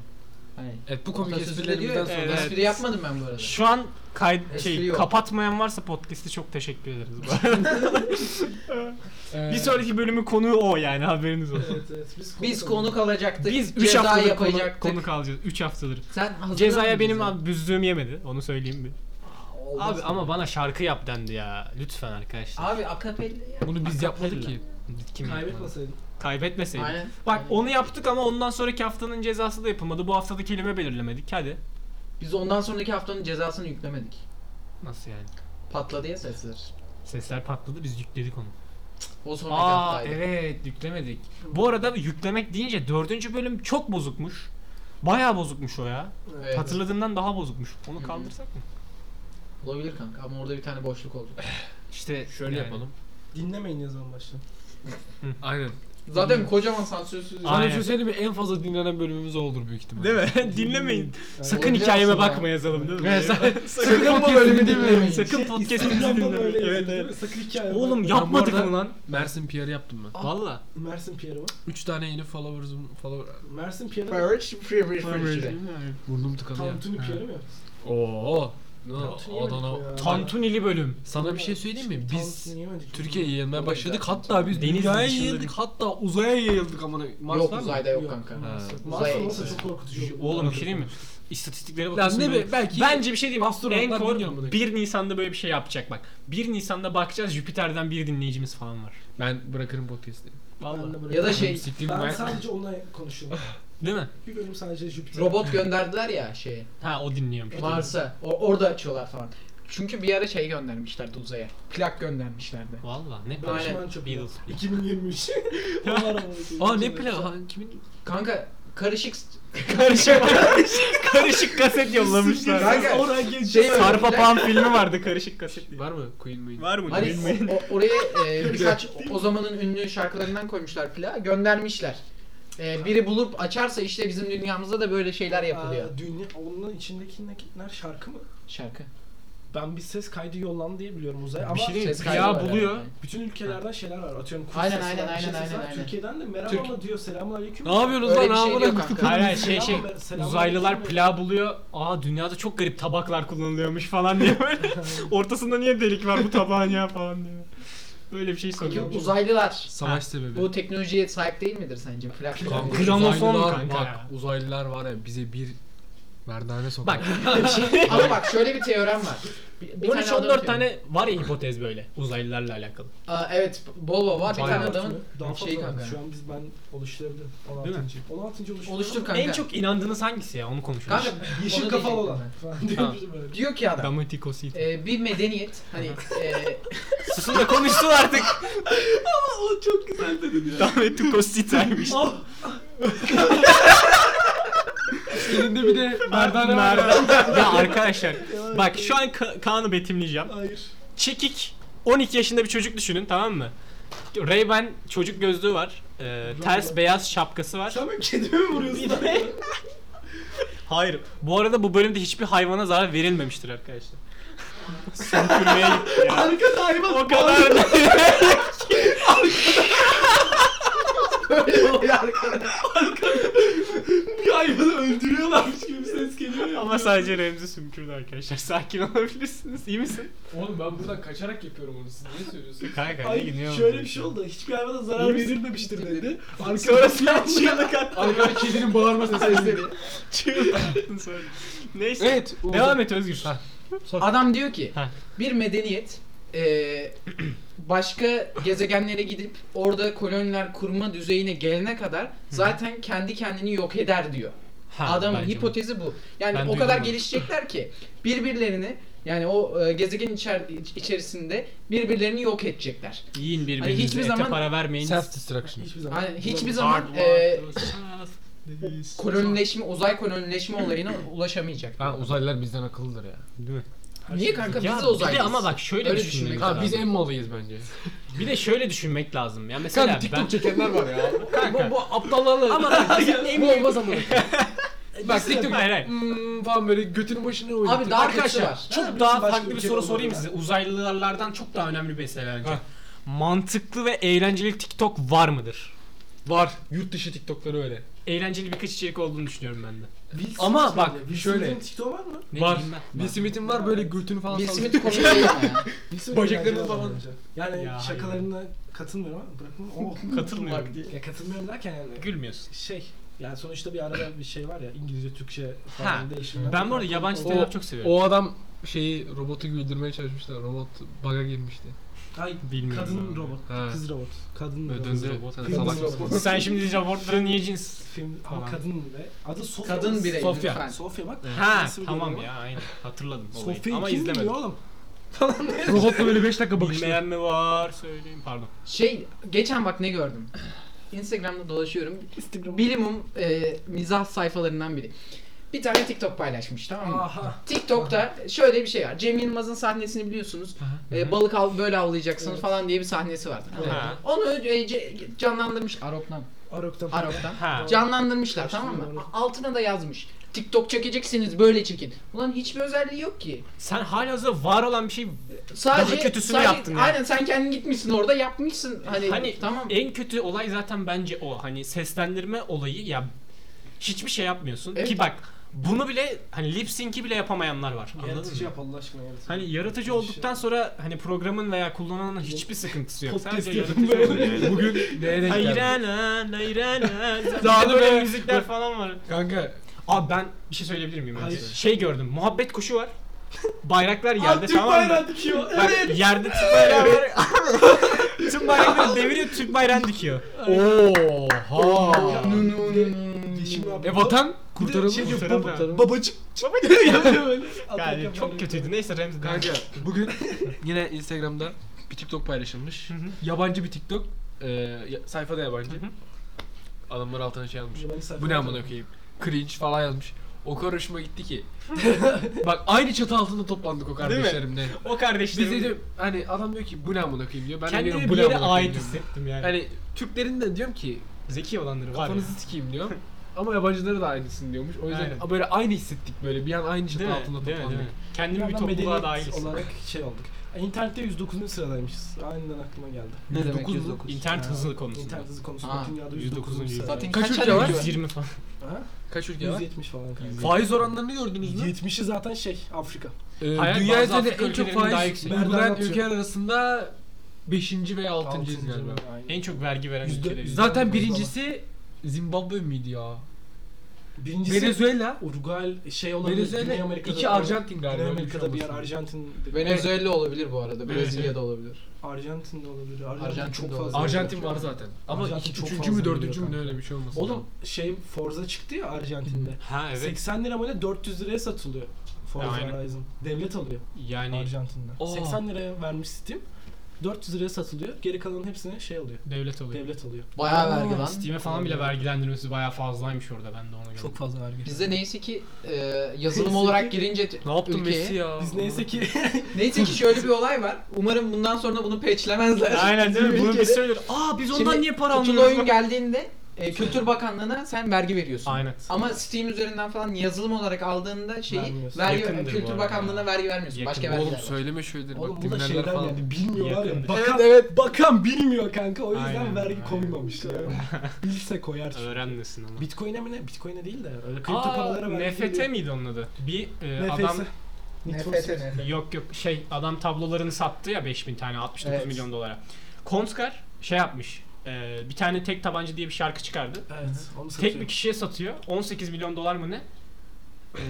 Speaker 3: Hayır.
Speaker 4: Evet bu komik
Speaker 3: Atasözü de diyor
Speaker 4: esprilerimizden
Speaker 3: ya.
Speaker 4: sonra.
Speaker 1: Evet.
Speaker 3: Espri yapmadım ben bu arada.
Speaker 1: Şu an kay-
Speaker 3: Espri
Speaker 1: şey,
Speaker 3: yok.
Speaker 1: kapatmayan varsa podcast'i çok teşekkür ederiz. bu arada.
Speaker 4: Ee,
Speaker 1: bir sonraki bölümün konuğu o yani haberiniz olsun.
Speaker 2: evet, evet, biz konuk
Speaker 3: Biz
Speaker 2: olduk.
Speaker 3: konuk alacaktık.
Speaker 1: Biz 3
Speaker 3: ceza
Speaker 1: haftadır konu,
Speaker 3: yapacaktık.
Speaker 1: konuk alacağız. 3 haftadır.
Speaker 3: Sen hazırlan
Speaker 1: Cezaya
Speaker 3: mı
Speaker 1: benim
Speaker 3: bize?
Speaker 1: abi büzdüğüm yemedi. Onu söyleyeyim bir.
Speaker 3: Aa, olmaz
Speaker 1: Abi
Speaker 3: mı?
Speaker 1: ama bana şarkı yap dendi ya. Lütfen arkadaşlar.
Speaker 3: Abi akapella ya.
Speaker 4: Bunu biz yapmadık ki.
Speaker 1: Kim yapmadı?
Speaker 2: Kaybetmeseydin.
Speaker 1: Kaybetmeseydim.
Speaker 3: Aynen.
Speaker 1: Bak
Speaker 3: Aynen.
Speaker 1: onu yaptık ama ondan sonraki haftanın cezası da yapılmadı. Bu haftada kelime belirlemedik. Hadi.
Speaker 3: Biz ondan sonraki haftanın cezasını yüklemedik.
Speaker 1: Nasıl yani?
Speaker 3: Patladı ya sesler.
Speaker 1: Sesler patladı biz yükledik onu.
Speaker 3: O sonraki
Speaker 1: Aa
Speaker 3: haftaydı.
Speaker 1: evet yüklemedik. Bu arada yüklemek deyince dördüncü bölüm çok bozukmuş. Bayağı bozukmuş o ya.
Speaker 3: Evet.
Speaker 1: Hatırladığımdan daha bozukmuş.
Speaker 3: Hı
Speaker 1: Onu
Speaker 3: hı.
Speaker 1: kaldırsak mı?
Speaker 3: Olabilir kanka ama orada bir tane boşluk oldu.
Speaker 1: İşte
Speaker 4: Şöyle
Speaker 1: yani.
Speaker 4: yapalım.
Speaker 2: Dinlemeyin ne zaman başlayın.
Speaker 4: Aynen.
Speaker 3: Zaten kocaman sansürsüz.
Speaker 1: Aynen.
Speaker 4: Sana bir şey söyleyeyim mi? En fazla dinlenen bölümümüz o olur büyük ihtimalle.
Speaker 1: Değil mi? Dinlemeyin. Sakın
Speaker 3: Olacak
Speaker 1: hikayeme
Speaker 3: aslında.
Speaker 1: bakma yazalım değil mi?
Speaker 4: Evet,
Speaker 1: sakın
Speaker 3: bu
Speaker 1: podcast'ı
Speaker 3: bölümü
Speaker 1: dinlemeyin.
Speaker 3: dinlemeyin.
Speaker 1: Sakın podcast'ı
Speaker 2: Instagram'dan öyle
Speaker 1: dinlemeyin.
Speaker 2: yazıyor,
Speaker 1: Evet
Speaker 2: değil mi?
Speaker 1: evet.
Speaker 2: Sakın hikaye.
Speaker 1: Oğlum
Speaker 4: bu
Speaker 1: yapmadık
Speaker 4: arada-
Speaker 1: mı lan?
Speaker 4: Mersin PR yaptım ben.
Speaker 1: Valla.
Speaker 2: Mersin Pierre'ı mı?
Speaker 4: 3 tane yeni followers'ım follower
Speaker 2: Mersin Pierre'ı mı?
Speaker 3: Birch Free
Speaker 4: burnum tıkanıyor.
Speaker 2: Tantuni
Speaker 4: Ha.
Speaker 2: Pierre'ı mı? yaptın?
Speaker 4: Oo. Ne
Speaker 2: Tantuni yemedik mi
Speaker 4: Adana.
Speaker 2: ya?
Speaker 1: Tantunili bölüm.
Speaker 4: Sana bir şey söyleyeyim mi? Biz
Speaker 2: Tantuni yemedik.
Speaker 4: Türkiye'ye yayılmaya başladık. Hatta biz
Speaker 1: Deniz
Speaker 4: dünyaya
Speaker 1: dışında
Speaker 4: yayıldık. Hatta uzaya yayıldık amına.
Speaker 3: Yok
Speaker 4: Mars'tan mı?
Speaker 3: uzayda yok kanka.
Speaker 2: Mars'ta-
Speaker 4: Ha.
Speaker 2: Mars'ta
Speaker 3: Uzay-
Speaker 2: olsa çok korkutucu olur.
Speaker 1: Oğlum bir şey diyeyim mi? İstatistiklere
Speaker 4: Lan
Speaker 1: bakıyorsun.
Speaker 4: ne
Speaker 1: böyle-
Speaker 4: be? Belki
Speaker 1: Bence bir şey diyeyim.
Speaker 4: Astronotlar
Speaker 1: Encore
Speaker 4: bilmiyor amına.
Speaker 1: 1 Nisan'da böyle bir şey yapacak bak. 1 Nisan'da bakacağız Jüpiter'den bir dinleyicimiz falan var.
Speaker 4: ben bırakırım podcast'i.
Speaker 1: Vallahi.
Speaker 2: Ben de
Speaker 3: Ya da
Speaker 2: böyle-
Speaker 3: şey,
Speaker 4: Siktiğim
Speaker 2: Ben
Speaker 4: ben
Speaker 2: sadece onunla konuşuyorum.
Speaker 1: Değil mi?
Speaker 2: Bir bölüm sadece Jüpiter.
Speaker 3: Robot gönderdiler ya şeye.
Speaker 1: Ha o dinliyormuş.
Speaker 3: Mars'a. O, orada açıyorlar falan. Çünkü bir ara şey göndermişlerdi uzaya. Plak göndermişlerdi.
Speaker 1: Valla ne
Speaker 2: Barış
Speaker 3: Aynen.
Speaker 2: Manço.
Speaker 1: Beatles.
Speaker 2: 2023. Onlar ama.
Speaker 4: Aa ne plan? Ha, kimin?
Speaker 3: Kanka karışık s-
Speaker 1: karışık karışık kaset yollamışlar.
Speaker 3: Kanka,
Speaker 2: Oraya geç.
Speaker 3: şey
Speaker 1: Sarpa
Speaker 3: öğrendiler.
Speaker 1: Pan filmi vardı karışık kaset diye.
Speaker 4: Var mı? Queen Queen.
Speaker 1: Var mı?
Speaker 3: Hani
Speaker 1: Bilmiyorum.
Speaker 3: o- oraya e, birkaç o zamanın ünlü şarkılarından koymuşlar plağı göndermişler. E, biri bulup açarsa işte bizim dünyamızda da böyle şeyler yapılıyor.
Speaker 2: Aa, Dünya, onun içindekiler şarkı mı?
Speaker 3: Şarkı.
Speaker 2: Ben bir ses kaydı yollandı diye biliyorum uzaya ama
Speaker 1: Bir şey diyeyim.
Speaker 3: ses kaydı var
Speaker 1: Plağı
Speaker 3: yani.
Speaker 1: buluyor.
Speaker 2: bütün ülkelerden şeyler var. Atıyorum Kurs
Speaker 3: Aynen,
Speaker 2: sesi
Speaker 3: aynen,
Speaker 2: var, bir şey
Speaker 3: aynen,
Speaker 2: sesi var.
Speaker 3: aynen, aynen.
Speaker 2: Türkiye'den de merhaba
Speaker 3: Türk-
Speaker 2: diyor selamun aleyküm.
Speaker 4: Ne yapıyorsunuz
Speaker 3: Öyle
Speaker 4: lan
Speaker 3: bir şey
Speaker 4: amına?
Speaker 3: diyor kanka.
Speaker 1: Hayır hayır, şey şey
Speaker 2: Selam- selam-
Speaker 1: uzaylılar
Speaker 2: selam-
Speaker 1: plağı buluyor. Aa dünyada çok garip tabaklar kullanılıyormuş falan diye böyle. Ortasında niye delik var bu tabağın ya falan diye. Böyle bir şey
Speaker 3: Peki
Speaker 1: soruyor.
Speaker 3: uzaylılar
Speaker 4: Savaş sebebi.
Speaker 3: bu teknolojiye sahip değil midir sence plak?
Speaker 4: Kanka,
Speaker 1: Gramofon
Speaker 4: uzaylılar
Speaker 1: kanka
Speaker 4: Bak
Speaker 1: ya.
Speaker 4: uzaylılar var ya bize bir Merdane sokak.
Speaker 1: Bak
Speaker 3: Ama bak şöyle bir teorem var. Bir- bir tane adamın
Speaker 1: 13-14 tane var ya hipotez böyle uzaylılarla alakalı.
Speaker 3: Aa, evet Bolva var bir
Speaker 4: Bayağı.
Speaker 3: tane adamın
Speaker 2: Daha
Speaker 3: şeyi
Speaker 2: fazla var.
Speaker 3: kanka.
Speaker 2: Şu an biz ben oluşturabilirim. 16.
Speaker 1: Değil mi?
Speaker 2: 16. oluşturabilirim.
Speaker 3: Oluştur kanka.
Speaker 1: En çok inandığınız hangisi ya onu konuşuyoruz.
Speaker 3: Kanka,
Speaker 2: Yeşil
Speaker 3: onu
Speaker 2: kafalı
Speaker 3: diyecektim
Speaker 2: olan. Falan diyorum böyle.
Speaker 3: ben. Diyor ki adam
Speaker 4: Damatikosit.
Speaker 3: e, bir medeniyet hani e,
Speaker 1: Susun da konuşsun artık.
Speaker 2: O çok güzel dedin ya.
Speaker 1: Damatikosit
Speaker 2: Ah!
Speaker 4: Elinde bir de merdane var.
Speaker 1: Merdan. ya arkadaşlar bak şu an Ka- Kaan'ı betimleyeceğim.
Speaker 2: Hayır.
Speaker 1: Çekik 12 yaşında bir çocuk düşünün tamam mı? Ray-Ban çocuk gözlüğü var. Ee, ters beyaz şapkası var.
Speaker 2: Sen benim kedime mi vuruyorsun?
Speaker 1: Bir de- Hayır. Bu arada bu bölümde hiçbir hayvana zarar verilmemiştir arkadaşlar. Sömürmeye gitti ya.
Speaker 2: Arkada hayvan.
Speaker 1: O kadar.
Speaker 2: Bir hayvanı öldürüyorlarmış gibi ses geliyor ya.
Speaker 1: Ama sadece Remzi sümkürdü arkadaşlar. Sakin olabilirsiniz. İyi misin?
Speaker 4: Oğlum ben buradan kaçarak yapıyorum onu. Siz niye söylüyorsunuz?
Speaker 1: Kanka
Speaker 2: Ay şöyle bir şey oldu. Hiçbir hayvana zarar verilmemiştir dedi.
Speaker 1: Sonra
Speaker 2: Arkada
Speaker 1: sen
Speaker 3: şey-
Speaker 1: çığlık attın.
Speaker 4: Arkada kedinin bağırması sesleri.
Speaker 1: Çığlık attın sonra. Neyse.
Speaker 4: evet. Uğur.
Speaker 1: Devam et Özgür.
Speaker 4: Ha.
Speaker 3: adam diyor ki
Speaker 1: Ha.
Speaker 3: bir medeniyet e, başka gezegenlere gidip orada koloniler kurma düzeyine gelene kadar zaten kendi kendini yok eder diyor.
Speaker 1: Ha,
Speaker 3: Adamın
Speaker 1: bence bu.
Speaker 3: hipotezi bu. Yani
Speaker 1: Ben
Speaker 3: o
Speaker 1: duydum
Speaker 3: kadar
Speaker 1: bunu.
Speaker 3: gelişecekler ki birbirlerini yani o e, gezegen içer- iç- içerisinde birbirlerini yok edecekler.
Speaker 1: Yiyin birbirinize.
Speaker 3: Hani hiçbir
Speaker 1: ete
Speaker 3: zaman-
Speaker 1: para vermeyin.
Speaker 4: Self destruction.
Speaker 2: Hiçbir zaman.
Speaker 3: Yani hiçbir zaman e, kolonileşme, uzay kolonileşme olayına ulaşamayacak.
Speaker 4: Ha uzaylılar bizden akıllıdır ya.
Speaker 1: Değil mi?
Speaker 3: Niye kanka
Speaker 1: Ya
Speaker 3: biz
Speaker 1: bir
Speaker 3: de
Speaker 1: de
Speaker 3: uzaylıyız.
Speaker 1: ama bak şöyle
Speaker 3: Öyle
Speaker 1: düşünmek
Speaker 3: düşünmek
Speaker 4: Ha
Speaker 1: lazım.
Speaker 4: biz en malıyız bence.
Speaker 1: Bir de şöyle düşünmek lazım. Ya mesela
Speaker 4: Kanka TikTok
Speaker 1: ben
Speaker 4: çekenler var ya. Bu, bu aptallarla.
Speaker 1: ama bak bizim en
Speaker 4: bu
Speaker 1: büyük
Speaker 4: olmaz ama. Bak TikTok
Speaker 1: Hayır, hayır.
Speaker 4: hmm, falan böyle götünü başına oynatıyor.
Speaker 3: Abi daha kötüsü
Speaker 1: Arkadaşlar
Speaker 3: var.
Speaker 1: çok
Speaker 2: Hadi
Speaker 1: daha
Speaker 2: bizim şey başka
Speaker 1: farklı bir
Speaker 2: ülke
Speaker 1: soru
Speaker 2: olmalı
Speaker 1: sorayım
Speaker 2: ya.
Speaker 1: size. Uzaylılardan çok daha önemli bir mesele bence.
Speaker 4: Heh.
Speaker 1: Mantıklı ve eğlenceli TikTok var mıdır?
Speaker 4: Var. Yurt dışı TikTok'ları öyle.
Speaker 1: Eğlenceli birkaç içerik olduğunu düşünüyorum ben de.
Speaker 2: Will
Speaker 1: Ama
Speaker 2: Smith
Speaker 1: bak,
Speaker 2: söyledi. Will
Speaker 4: şöyle.
Speaker 2: Smith'in TikTok'u var mı?
Speaker 1: Ne
Speaker 4: var.
Speaker 1: diyeyim ben?
Speaker 4: Will Smith'in var böyle götünü falan
Speaker 3: Will
Speaker 4: sallıyor.
Speaker 3: Smith komik değil mi ya?
Speaker 2: Will Smith
Speaker 4: Bacaklarını
Speaker 2: eğlenceli
Speaker 4: falan-
Speaker 2: adam bence. Yani
Speaker 1: Ya,
Speaker 2: şakalarına katılmıyorum ama bırakın. Oh.
Speaker 1: Katılmıyorum.
Speaker 2: Bak diye. Ya katılmıyorum derken yani.
Speaker 1: Gülmüyorsun.
Speaker 2: şey yani sonuçta bir arada bir şey var ya İngilizce Türkçe
Speaker 1: Ha,
Speaker 2: falan değişimler.
Speaker 1: Ben bu arada yabancı
Speaker 4: O-
Speaker 1: stand çok seviyorum.
Speaker 4: O adam şeyi robotu güldürmeye çalışmışlar. Robot bug'a girmişti.
Speaker 2: Ay,
Speaker 1: Bilmiyorum.
Speaker 2: kadın
Speaker 1: abi.
Speaker 2: robot,
Speaker 4: Ha.
Speaker 2: kız robot, kadın
Speaker 4: Böyle
Speaker 2: robot.
Speaker 4: döndü robot. Sen salak mısın?
Speaker 1: Sen şimdi robotlara niye cins?
Speaker 2: Film ama
Speaker 1: Falan.
Speaker 2: kadın ve adı Sofya.
Speaker 3: Kadın birey
Speaker 1: Sofya.
Speaker 3: lütfen.
Speaker 2: Sofya bak.
Speaker 1: Ee, Ha
Speaker 2: Nasıl bir
Speaker 1: tamam
Speaker 2: robot?
Speaker 1: ya aynen hatırladım olayı.
Speaker 2: Sofya'yı
Speaker 1: ama
Speaker 2: kim
Speaker 1: izlemedim.
Speaker 2: biliyor oğlum?
Speaker 4: Robotla böyle 5 dakika bakıştı.
Speaker 1: Bilmeyen mi var söyleyeyim pardon.
Speaker 3: Şey geçen bak ne gördüm. Instagram'da dolaşıyorum.
Speaker 2: Instagram.
Speaker 3: Bilimum e, mizah sayfalarından biri. Bir tane TikTok paylaşmış tamam mı?
Speaker 2: Aha.
Speaker 3: TikTok'ta şöyle bir şey var. Cem Yılmaz'ın sahnesini biliyorsunuz. E, balık av böyle avlayacaksınız falan diye bir sahnesi vardı. tamam mı?
Speaker 1: Ha.
Speaker 3: Onu e, ce- canlandırmış Arok'tan.
Speaker 2: Arok'tan.
Speaker 3: Arok'tan.
Speaker 1: Ha.
Speaker 3: Canlandırmışlar tamam mı? A- Altına da yazmış. TikTok çekeceksiniz böyle çekin. Ulan hiçbir özelliği yok ki.
Speaker 1: Sen halihazırda var olan bir şey
Speaker 3: Sadece
Speaker 1: Daha kötüsünü
Speaker 3: sadece-
Speaker 1: yaptın ya.
Speaker 3: Aynen sen kendin gitmişsin orada yapmışsın hani,
Speaker 1: Hani
Speaker 3: tamam.
Speaker 1: en kötü olay zaten bence o. Hani seslendirme olayı ya hiçbir şey yapmıyorsun.
Speaker 3: Evet.
Speaker 1: Ki bak bunu bile hani lip sync'i bile yapamayanlar var. Anladın
Speaker 2: Yaratıcı
Speaker 1: mı?
Speaker 2: yap Allah aşkına yaratıcı.
Speaker 1: Hani yaratıcı olduktan sonra hani programın veya kullananın hiçbir sıkıntısı yok.
Speaker 2: Podcast
Speaker 1: Sadece
Speaker 2: yapın
Speaker 1: yaratıcı ol.
Speaker 2: böyle.
Speaker 4: Bugün neye denk geldi?
Speaker 1: Hayranan, hayranan.
Speaker 4: Daha
Speaker 1: Zaten
Speaker 4: da
Speaker 1: böyle
Speaker 4: böyle-
Speaker 1: müzikler falan var.
Speaker 4: Kanka
Speaker 1: Abi ben bir şey söyleyebilir miyim?
Speaker 2: Hayır.
Speaker 1: Şey gördüm. Muhabbet kuşu var. Bayraklar
Speaker 2: Aa,
Speaker 1: yerde
Speaker 2: Türk
Speaker 1: tamam mı?
Speaker 2: bayrağı dikiyor.
Speaker 1: Bak
Speaker 2: Evet.
Speaker 1: yerde Türk bayrağı var. Tüm bayrakları deviriyor Türk bayrağını dikiyor.
Speaker 4: Oha.
Speaker 2: Yeşil abi.
Speaker 4: E vatan
Speaker 2: kurtaralım.
Speaker 4: kurtaralım.
Speaker 2: Şey diyor,
Speaker 1: kurtaralım.
Speaker 2: bab- babacım. Yapıyor
Speaker 1: Yani
Speaker 2: böyle. Atarken böyle.
Speaker 1: çok kötüydü. Neyse Remzi. devam et.
Speaker 4: Kanka bugün yine Instagram'da bir TikTok paylaşılmış. yabancı bir TikTok. Ee, ya- sayfada yabancı.
Speaker 1: Hı
Speaker 4: Adamlar altına şey yazmış.
Speaker 2: Yabancı sayfa
Speaker 4: Bu ne amına
Speaker 2: atıyorum.
Speaker 4: koyayım? Cringe falan yazmış. O kadar hoşuma gitti ki. Bak aynı çatı altında toplandık o
Speaker 1: mi?
Speaker 4: kardeşlerimle.
Speaker 1: O
Speaker 4: Biz de
Speaker 1: kardeşlerim.
Speaker 4: diyor, hani adam diyor ki bu ne amına koyayım diyor. Ben de diyorum
Speaker 1: Kendimi
Speaker 4: bu
Speaker 1: bir
Speaker 4: ne
Speaker 1: yere
Speaker 4: amına koyayım
Speaker 1: ait
Speaker 4: diyorum.
Speaker 1: hissettim yani.
Speaker 4: Yani Türklerin de diyorum ki
Speaker 1: Zeki olanları var ya.
Speaker 4: kafanızı sikeyim diyor. Ama yabancıları da aynısını diyormuş. O yüzden
Speaker 1: Aynen.
Speaker 4: böyle aynı hissettik böyle bir an aynı çatı
Speaker 1: Değil mi?
Speaker 4: altında
Speaker 1: Değil mi? Değil mi?
Speaker 4: toplandık.
Speaker 1: Kendimi bir
Speaker 2: Yandan
Speaker 1: topluluğa dahil
Speaker 2: medeniyet
Speaker 1: hissettim.
Speaker 2: olarak şey olduk. İnternette 109. sıradaymışız. Aniden aklıma geldi.
Speaker 3: Ne demek
Speaker 4: 109?
Speaker 3: 109?
Speaker 1: İnternet
Speaker 2: Ha,
Speaker 1: hızlı konusunda.
Speaker 2: İnternet hızı
Speaker 3: Aa,
Speaker 2: konusunda dünyada
Speaker 1: 109.
Speaker 2: 109. sıradayız.
Speaker 3: Zaten
Speaker 4: Kaç
Speaker 3: kaç
Speaker 4: ülke
Speaker 3: tane
Speaker 4: var?
Speaker 3: var?
Speaker 1: 120 falan.
Speaker 2: Ha?
Speaker 4: Kaç ülke var?
Speaker 2: 170 falan kanka.
Speaker 4: Faiz oranlarını gördünüz mü?
Speaker 2: 70'i zaten şey Afrika.
Speaker 4: Ee,
Speaker 1: Hayır,
Speaker 4: dünya
Speaker 1: bazı
Speaker 4: üzerinde
Speaker 1: Afrika
Speaker 4: en çok
Speaker 1: ülkelerinin daha
Speaker 4: faiz
Speaker 1: yüksek.
Speaker 2: Nereden
Speaker 4: uygulayan
Speaker 2: atıyor?
Speaker 4: ülkeler arasında 5. veya 6.
Speaker 2: Altıncı
Speaker 4: galiba.
Speaker 2: aynen.
Speaker 1: En çok vergi veren
Speaker 2: Yüzde-
Speaker 1: ülkeler.
Speaker 2: yüzde-
Speaker 4: Zaten birincisi Zimbabwe miydi ya?
Speaker 2: Birincisi
Speaker 4: Venezuela.
Speaker 2: Uruguay şey olabilir. Güney
Speaker 4: Venezuela.
Speaker 2: Amerika'da.
Speaker 4: iki Arjantin galiba.
Speaker 2: Güney
Speaker 4: öyle bir şey
Speaker 2: Amerika'da bir yer
Speaker 4: olması lazım.
Speaker 2: Arjantin.
Speaker 3: Venezuela olabilir bu arada. Brezilya'da olabilir.
Speaker 2: Arjantin'de olabilir. Arjantin,
Speaker 3: Arjantin'de
Speaker 2: çok fazla.
Speaker 4: Arjantin
Speaker 2: ülke
Speaker 4: var zaten. Ama
Speaker 2: Arjantin
Speaker 4: iki,
Speaker 2: çok
Speaker 4: üçüncü
Speaker 2: fazla
Speaker 4: mü
Speaker 2: biliyor
Speaker 4: dördüncü mü ne
Speaker 2: kanka.
Speaker 4: öyle bir şey olmasın.
Speaker 2: Oğlum şey Forza çıktı ya Arjantin'de.
Speaker 1: Ha evet.
Speaker 2: 80 lira mı ne 400 liraya satılıyor Forza
Speaker 1: Aynen.
Speaker 2: Horizon. Devlet alıyor
Speaker 1: Yani
Speaker 2: Arjantin'de.
Speaker 1: Aa.
Speaker 2: 80 liraya vermiş Steam. 400 liraya satılıyor. Geri kalanın hepsini şey alıyor.
Speaker 1: devlet alıyor.
Speaker 2: Devlet alıyor.
Speaker 3: Bayağı vergi lan.
Speaker 1: Steam'e falan bile vergilendirmesi bayağı fazlaymış orada ben de ona göre.
Speaker 2: Çok fazla vergi.
Speaker 3: Bizde neyse ki e, yazılım
Speaker 2: Neyse
Speaker 3: olarak
Speaker 2: ki-
Speaker 3: girince t-
Speaker 4: Ne yaptın Messi ya?
Speaker 2: Biz neyse ki
Speaker 3: Neyse ki şöyle bir olay var. Umarım bundan sonra bunu patchlemezler.
Speaker 1: Aynen değil mi?
Speaker 3: Bizim
Speaker 1: Bunu
Speaker 3: ülkede-
Speaker 1: biz söylüyoruz. Aa biz ondan
Speaker 3: Şimdi
Speaker 1: niye para
Speaker 3: Kutulu
Speaker 1: almıyoruz?
Speaker 3: oyun geldiğinde e, Kültür Bakanlığı'na sen vergi veriyorsun.
Speaker 1: Aynen.
Speaker 3: Ama Steam üzerinden falan yazılım olarak aldığında şeyi
Speaker 2: Vermiyorsun.
Speaker 3: vergi,
Speaker 1: Yakındır bu
Speaker 3: Kültür
Speaker 1: arada.
Speaker 3: Bakanlığı'na vergi vermiyorsun.
Speaker 1: Yakın.
Speaker 3: Başka
Speaker 4: Oğlum
Speaker 3: vergiler var.
Speaker 4: söyleme şöyledir
Speaker 2: Oğlum
Speaker 4: bak
Speaker 2: bu da
Speaker 4: dinlerler
Speaker 2: şeyden
Speaker 4: falan.
Speaker 2: yani bilmiyorlar
Speaker 1: Yakındır.
Speaker 2: ya. Bakan,
Speaker 3: Evet, evet.
Speaker 2: bakan bilmiyor kanka o yüzden
Speaker 1: Aynen,
Speaker 2: vergi
Speaker 1: aynen.
Speaker 2: koymamışlar. Bilse koyar çünkü.
Speaker 1: Öğrenmesin ama.
Speaker 2: Bitcoin'e mi ne? Bitcoin'e değil de öyle kripto
Speaker 1: Aa,
Speaker 2: paralara vergi
Speaker 1: NFT miydi onun adı? Bir e,
Speaker 2: NFS.
Speaker 1: adam
Speaker 2: Need for Speed.
Speaker 3: NFT'ne.
Speaker 1: yok yok şey adam tablolarını sattı ya 5000 tane 69
Speaker 3: Evet.
Speaker 1: milyon dolara. Kontkar şey yapmış. e, bir tane tek tabanca diye bir şarkı çıkardı.
Speaker 2: Evet, onu satıyor.
Speaker 1: Tek bir kişiye satıyor. 18 milyon dolar mı ne? E,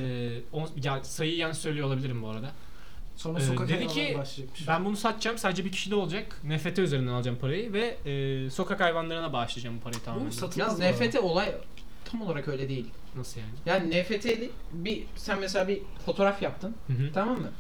Speaker 1: on- ya sayıyı yanlış söylüyor olabilirim bu arada.
Speaker 2: Sonra
Speaker 1: Ee,
Speaker 2: sokak
Speaker 1: dedi
Speaker 2: hayvanları
Speaker 1: ki,
Speaker 2: başlayacakmış.
Speaker 1: Ben bunu satacağım. Sadece bir kişi de olacak. NFT üzerinden alacağım parayı ve e, sokak hayvanlarına bağışlayacağım bu parayı tamamen.
Speaker 2: Bu satılmaz
Speaker 3: Yalnız
Speaker 2: bu arada.
Speaker 3: NFT olay tam olarak öyle değil.
Speaker 1: Nasıl yani?
Speaker 3: Yani NFT'li bir sen mesela bir fotoğraf yaptın.
Speaker 1: Hı hı.
Speaker 3: Tamam mı?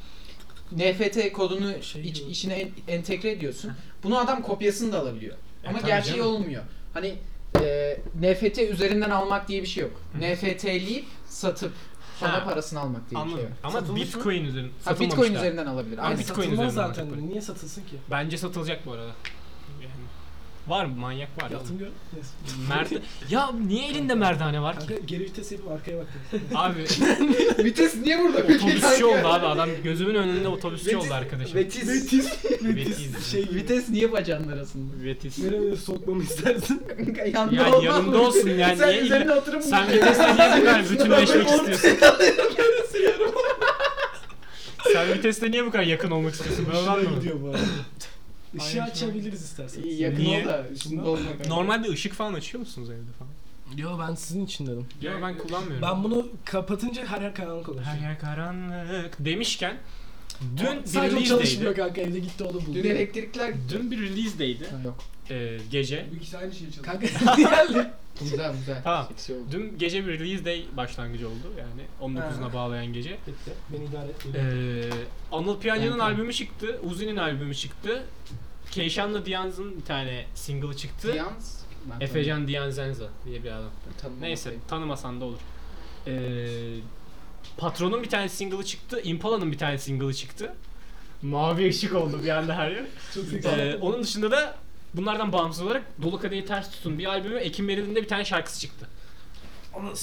Speaker 3: NFT kodunu
Speaker 2: Şey
Speaker 3: iç-
Speaker 2: gibi.
Speaker 3: içine en- entegre ediyorsun. Bunu adam kopyasını da alabiliyor.
Speaker 1: E,
Speaker 3: Ama
Speaker 1: tabii
Speaker 3: gerçeği
Speaker 1: canım.
Speaker 3: olmuyor. Hani e, NFT üzerinden almak diye bir şey yok. NFT'leyip satıp
Speaker 1: Ha.
Speaker 3: sana parasını almak diye bir şey yok.
Speaker 1: Anladım. Ama
Speaker 2: Satılmış mı?
Speaker 1: Bitcoin üzerinden.
Speaker 3: Ha,
Speaker 1: satılmamış
Speaker 3: Bitcoin
Speaker 1: daha.
Speaker 3: üzerinden alabilir.
Speaker 1: Ama
Speaker 3: Aynen.
Speaker 1: Bitcoin
Speaker 2: Satılmaz
Speaker 1: üzerinden
Speaker 2: zaten.
Speaker 1: alacak.
Speaker 2: Niye satılsın ki?
Speaker 1: Bence satılacak bu arada. Yani. Var mı manyak var.
Speaker 2: Yaptım gör. Neyse.
Speaker 1: Merde... ya niye elinde merdane var
Speaker 2: Kanka
Speaker 1: ki?
Speaker 2: geri vites yapıp arkaya bak.
Speaker 1: abi
Speaker 3: Vites niye burada peki
Speaker 1: otobüsçü
Speaker 3: kanka?
Speaker 1: şey oldu abi adam gözümün önünde otobüsçü oldu arkadaşım.
Speaker 3: Vites,
Speaker 2: Vites.
Speaker 1: Vites.
Speaker 2: Vites. Şey gibi.
Speaker 3: vites niye bacağın arasında?
Speaker 1: Vites.
Speaker 2: Nereye sokmamı istersin?
Speaker 3: Kanka yanında
Speaker 1: Yani
Speaker 3: olmaz
Speaker 1: yanında
Speaker 3: mı?
Speaker 1: olsun yani.
Speaker 3: Sen
Speaker 1: Niye
Speaker 3: üzerine oturup
Speaker 1: Sen vitesle niye bu kadar bütünleşmek istiyorsun? Sen vitesle niye bu kadar yakın olmak istiyorsun? Ben onu
Speaker 2: Şuraya
Speaker 1: anlamadım.
Speaker 2: gidiyor bu arada. Işığı
Speaker 1: Aynen.
Speaker 2: açabiliriz istersen.
Speaker 3: İyi, Yakın
Speaker 1: Niye?
Speaker 3: ol da üstünde olma kanka.
Speaker 1: Normalde ışık falan açıyor musunuz evde falan?
Speaker 2: Yo ben sizin için dedim.
Speaker 1: Ya ben kullanmıyorum.
Speaker 2: Ben bunu kapatınca her yer karanlık olur.
Speaker 1: Her yer karanlık demişken dün bir
Speaker 2: sadece o
Speaker 1: release
Speaker 2: çalışmıyor
Speaker 1: day'di.
Speaker 2: kanka evde gitti onu buldu.
Speaker 3: Dün elektrikler...
Speaker 1: Dün bir release day'di.
Speaker 3: Ha, yok.
Speaker 1: Ee, gece.
Speaker 4: Bu ikisi aynı şeyi
Speaker 2: Kanka diğerli.
Speaker 3: Güzel güzel.
Speaker 1: Tamam.
Speaker 3: Seksi oldu.
Speaker 1: Dün gece bir release day başlangıcı oldu yani 19'una bağlayan gece.
Speaker 2: Bitti. Beni idare et.
Speaker 1: Ee, Anıl Piyancı'nın
Speaker 3: Kanka.
Speaker 1: albümü çıktı, Uzi'nin albümü çıktı. Keyşan'la Dianz'ın bir tane single'ı çıktı.
Speaker 3: Yalnız- Ben
Speaker 1: Efecan Dianzenza diye bir adam.
Speaker 3: tanımam- tanımam
Speaker 1: Neyse
Speaker 3: bakayım.
Speaker 1: tanımasan da olur. Ee, Patron'un bir tane single'ı çıktı, Impala'nın bir tane single'ı çıktı. Mavi ışık oldu bir anda her yer.
Speaker 2: Çok
Speaker 1: Ee, onun dışında da bunlardan bağımsız olarak Dolu Kadehi Ters Tutun bir albümü Ekim Veril'in de bir tane şarkısı çıktı.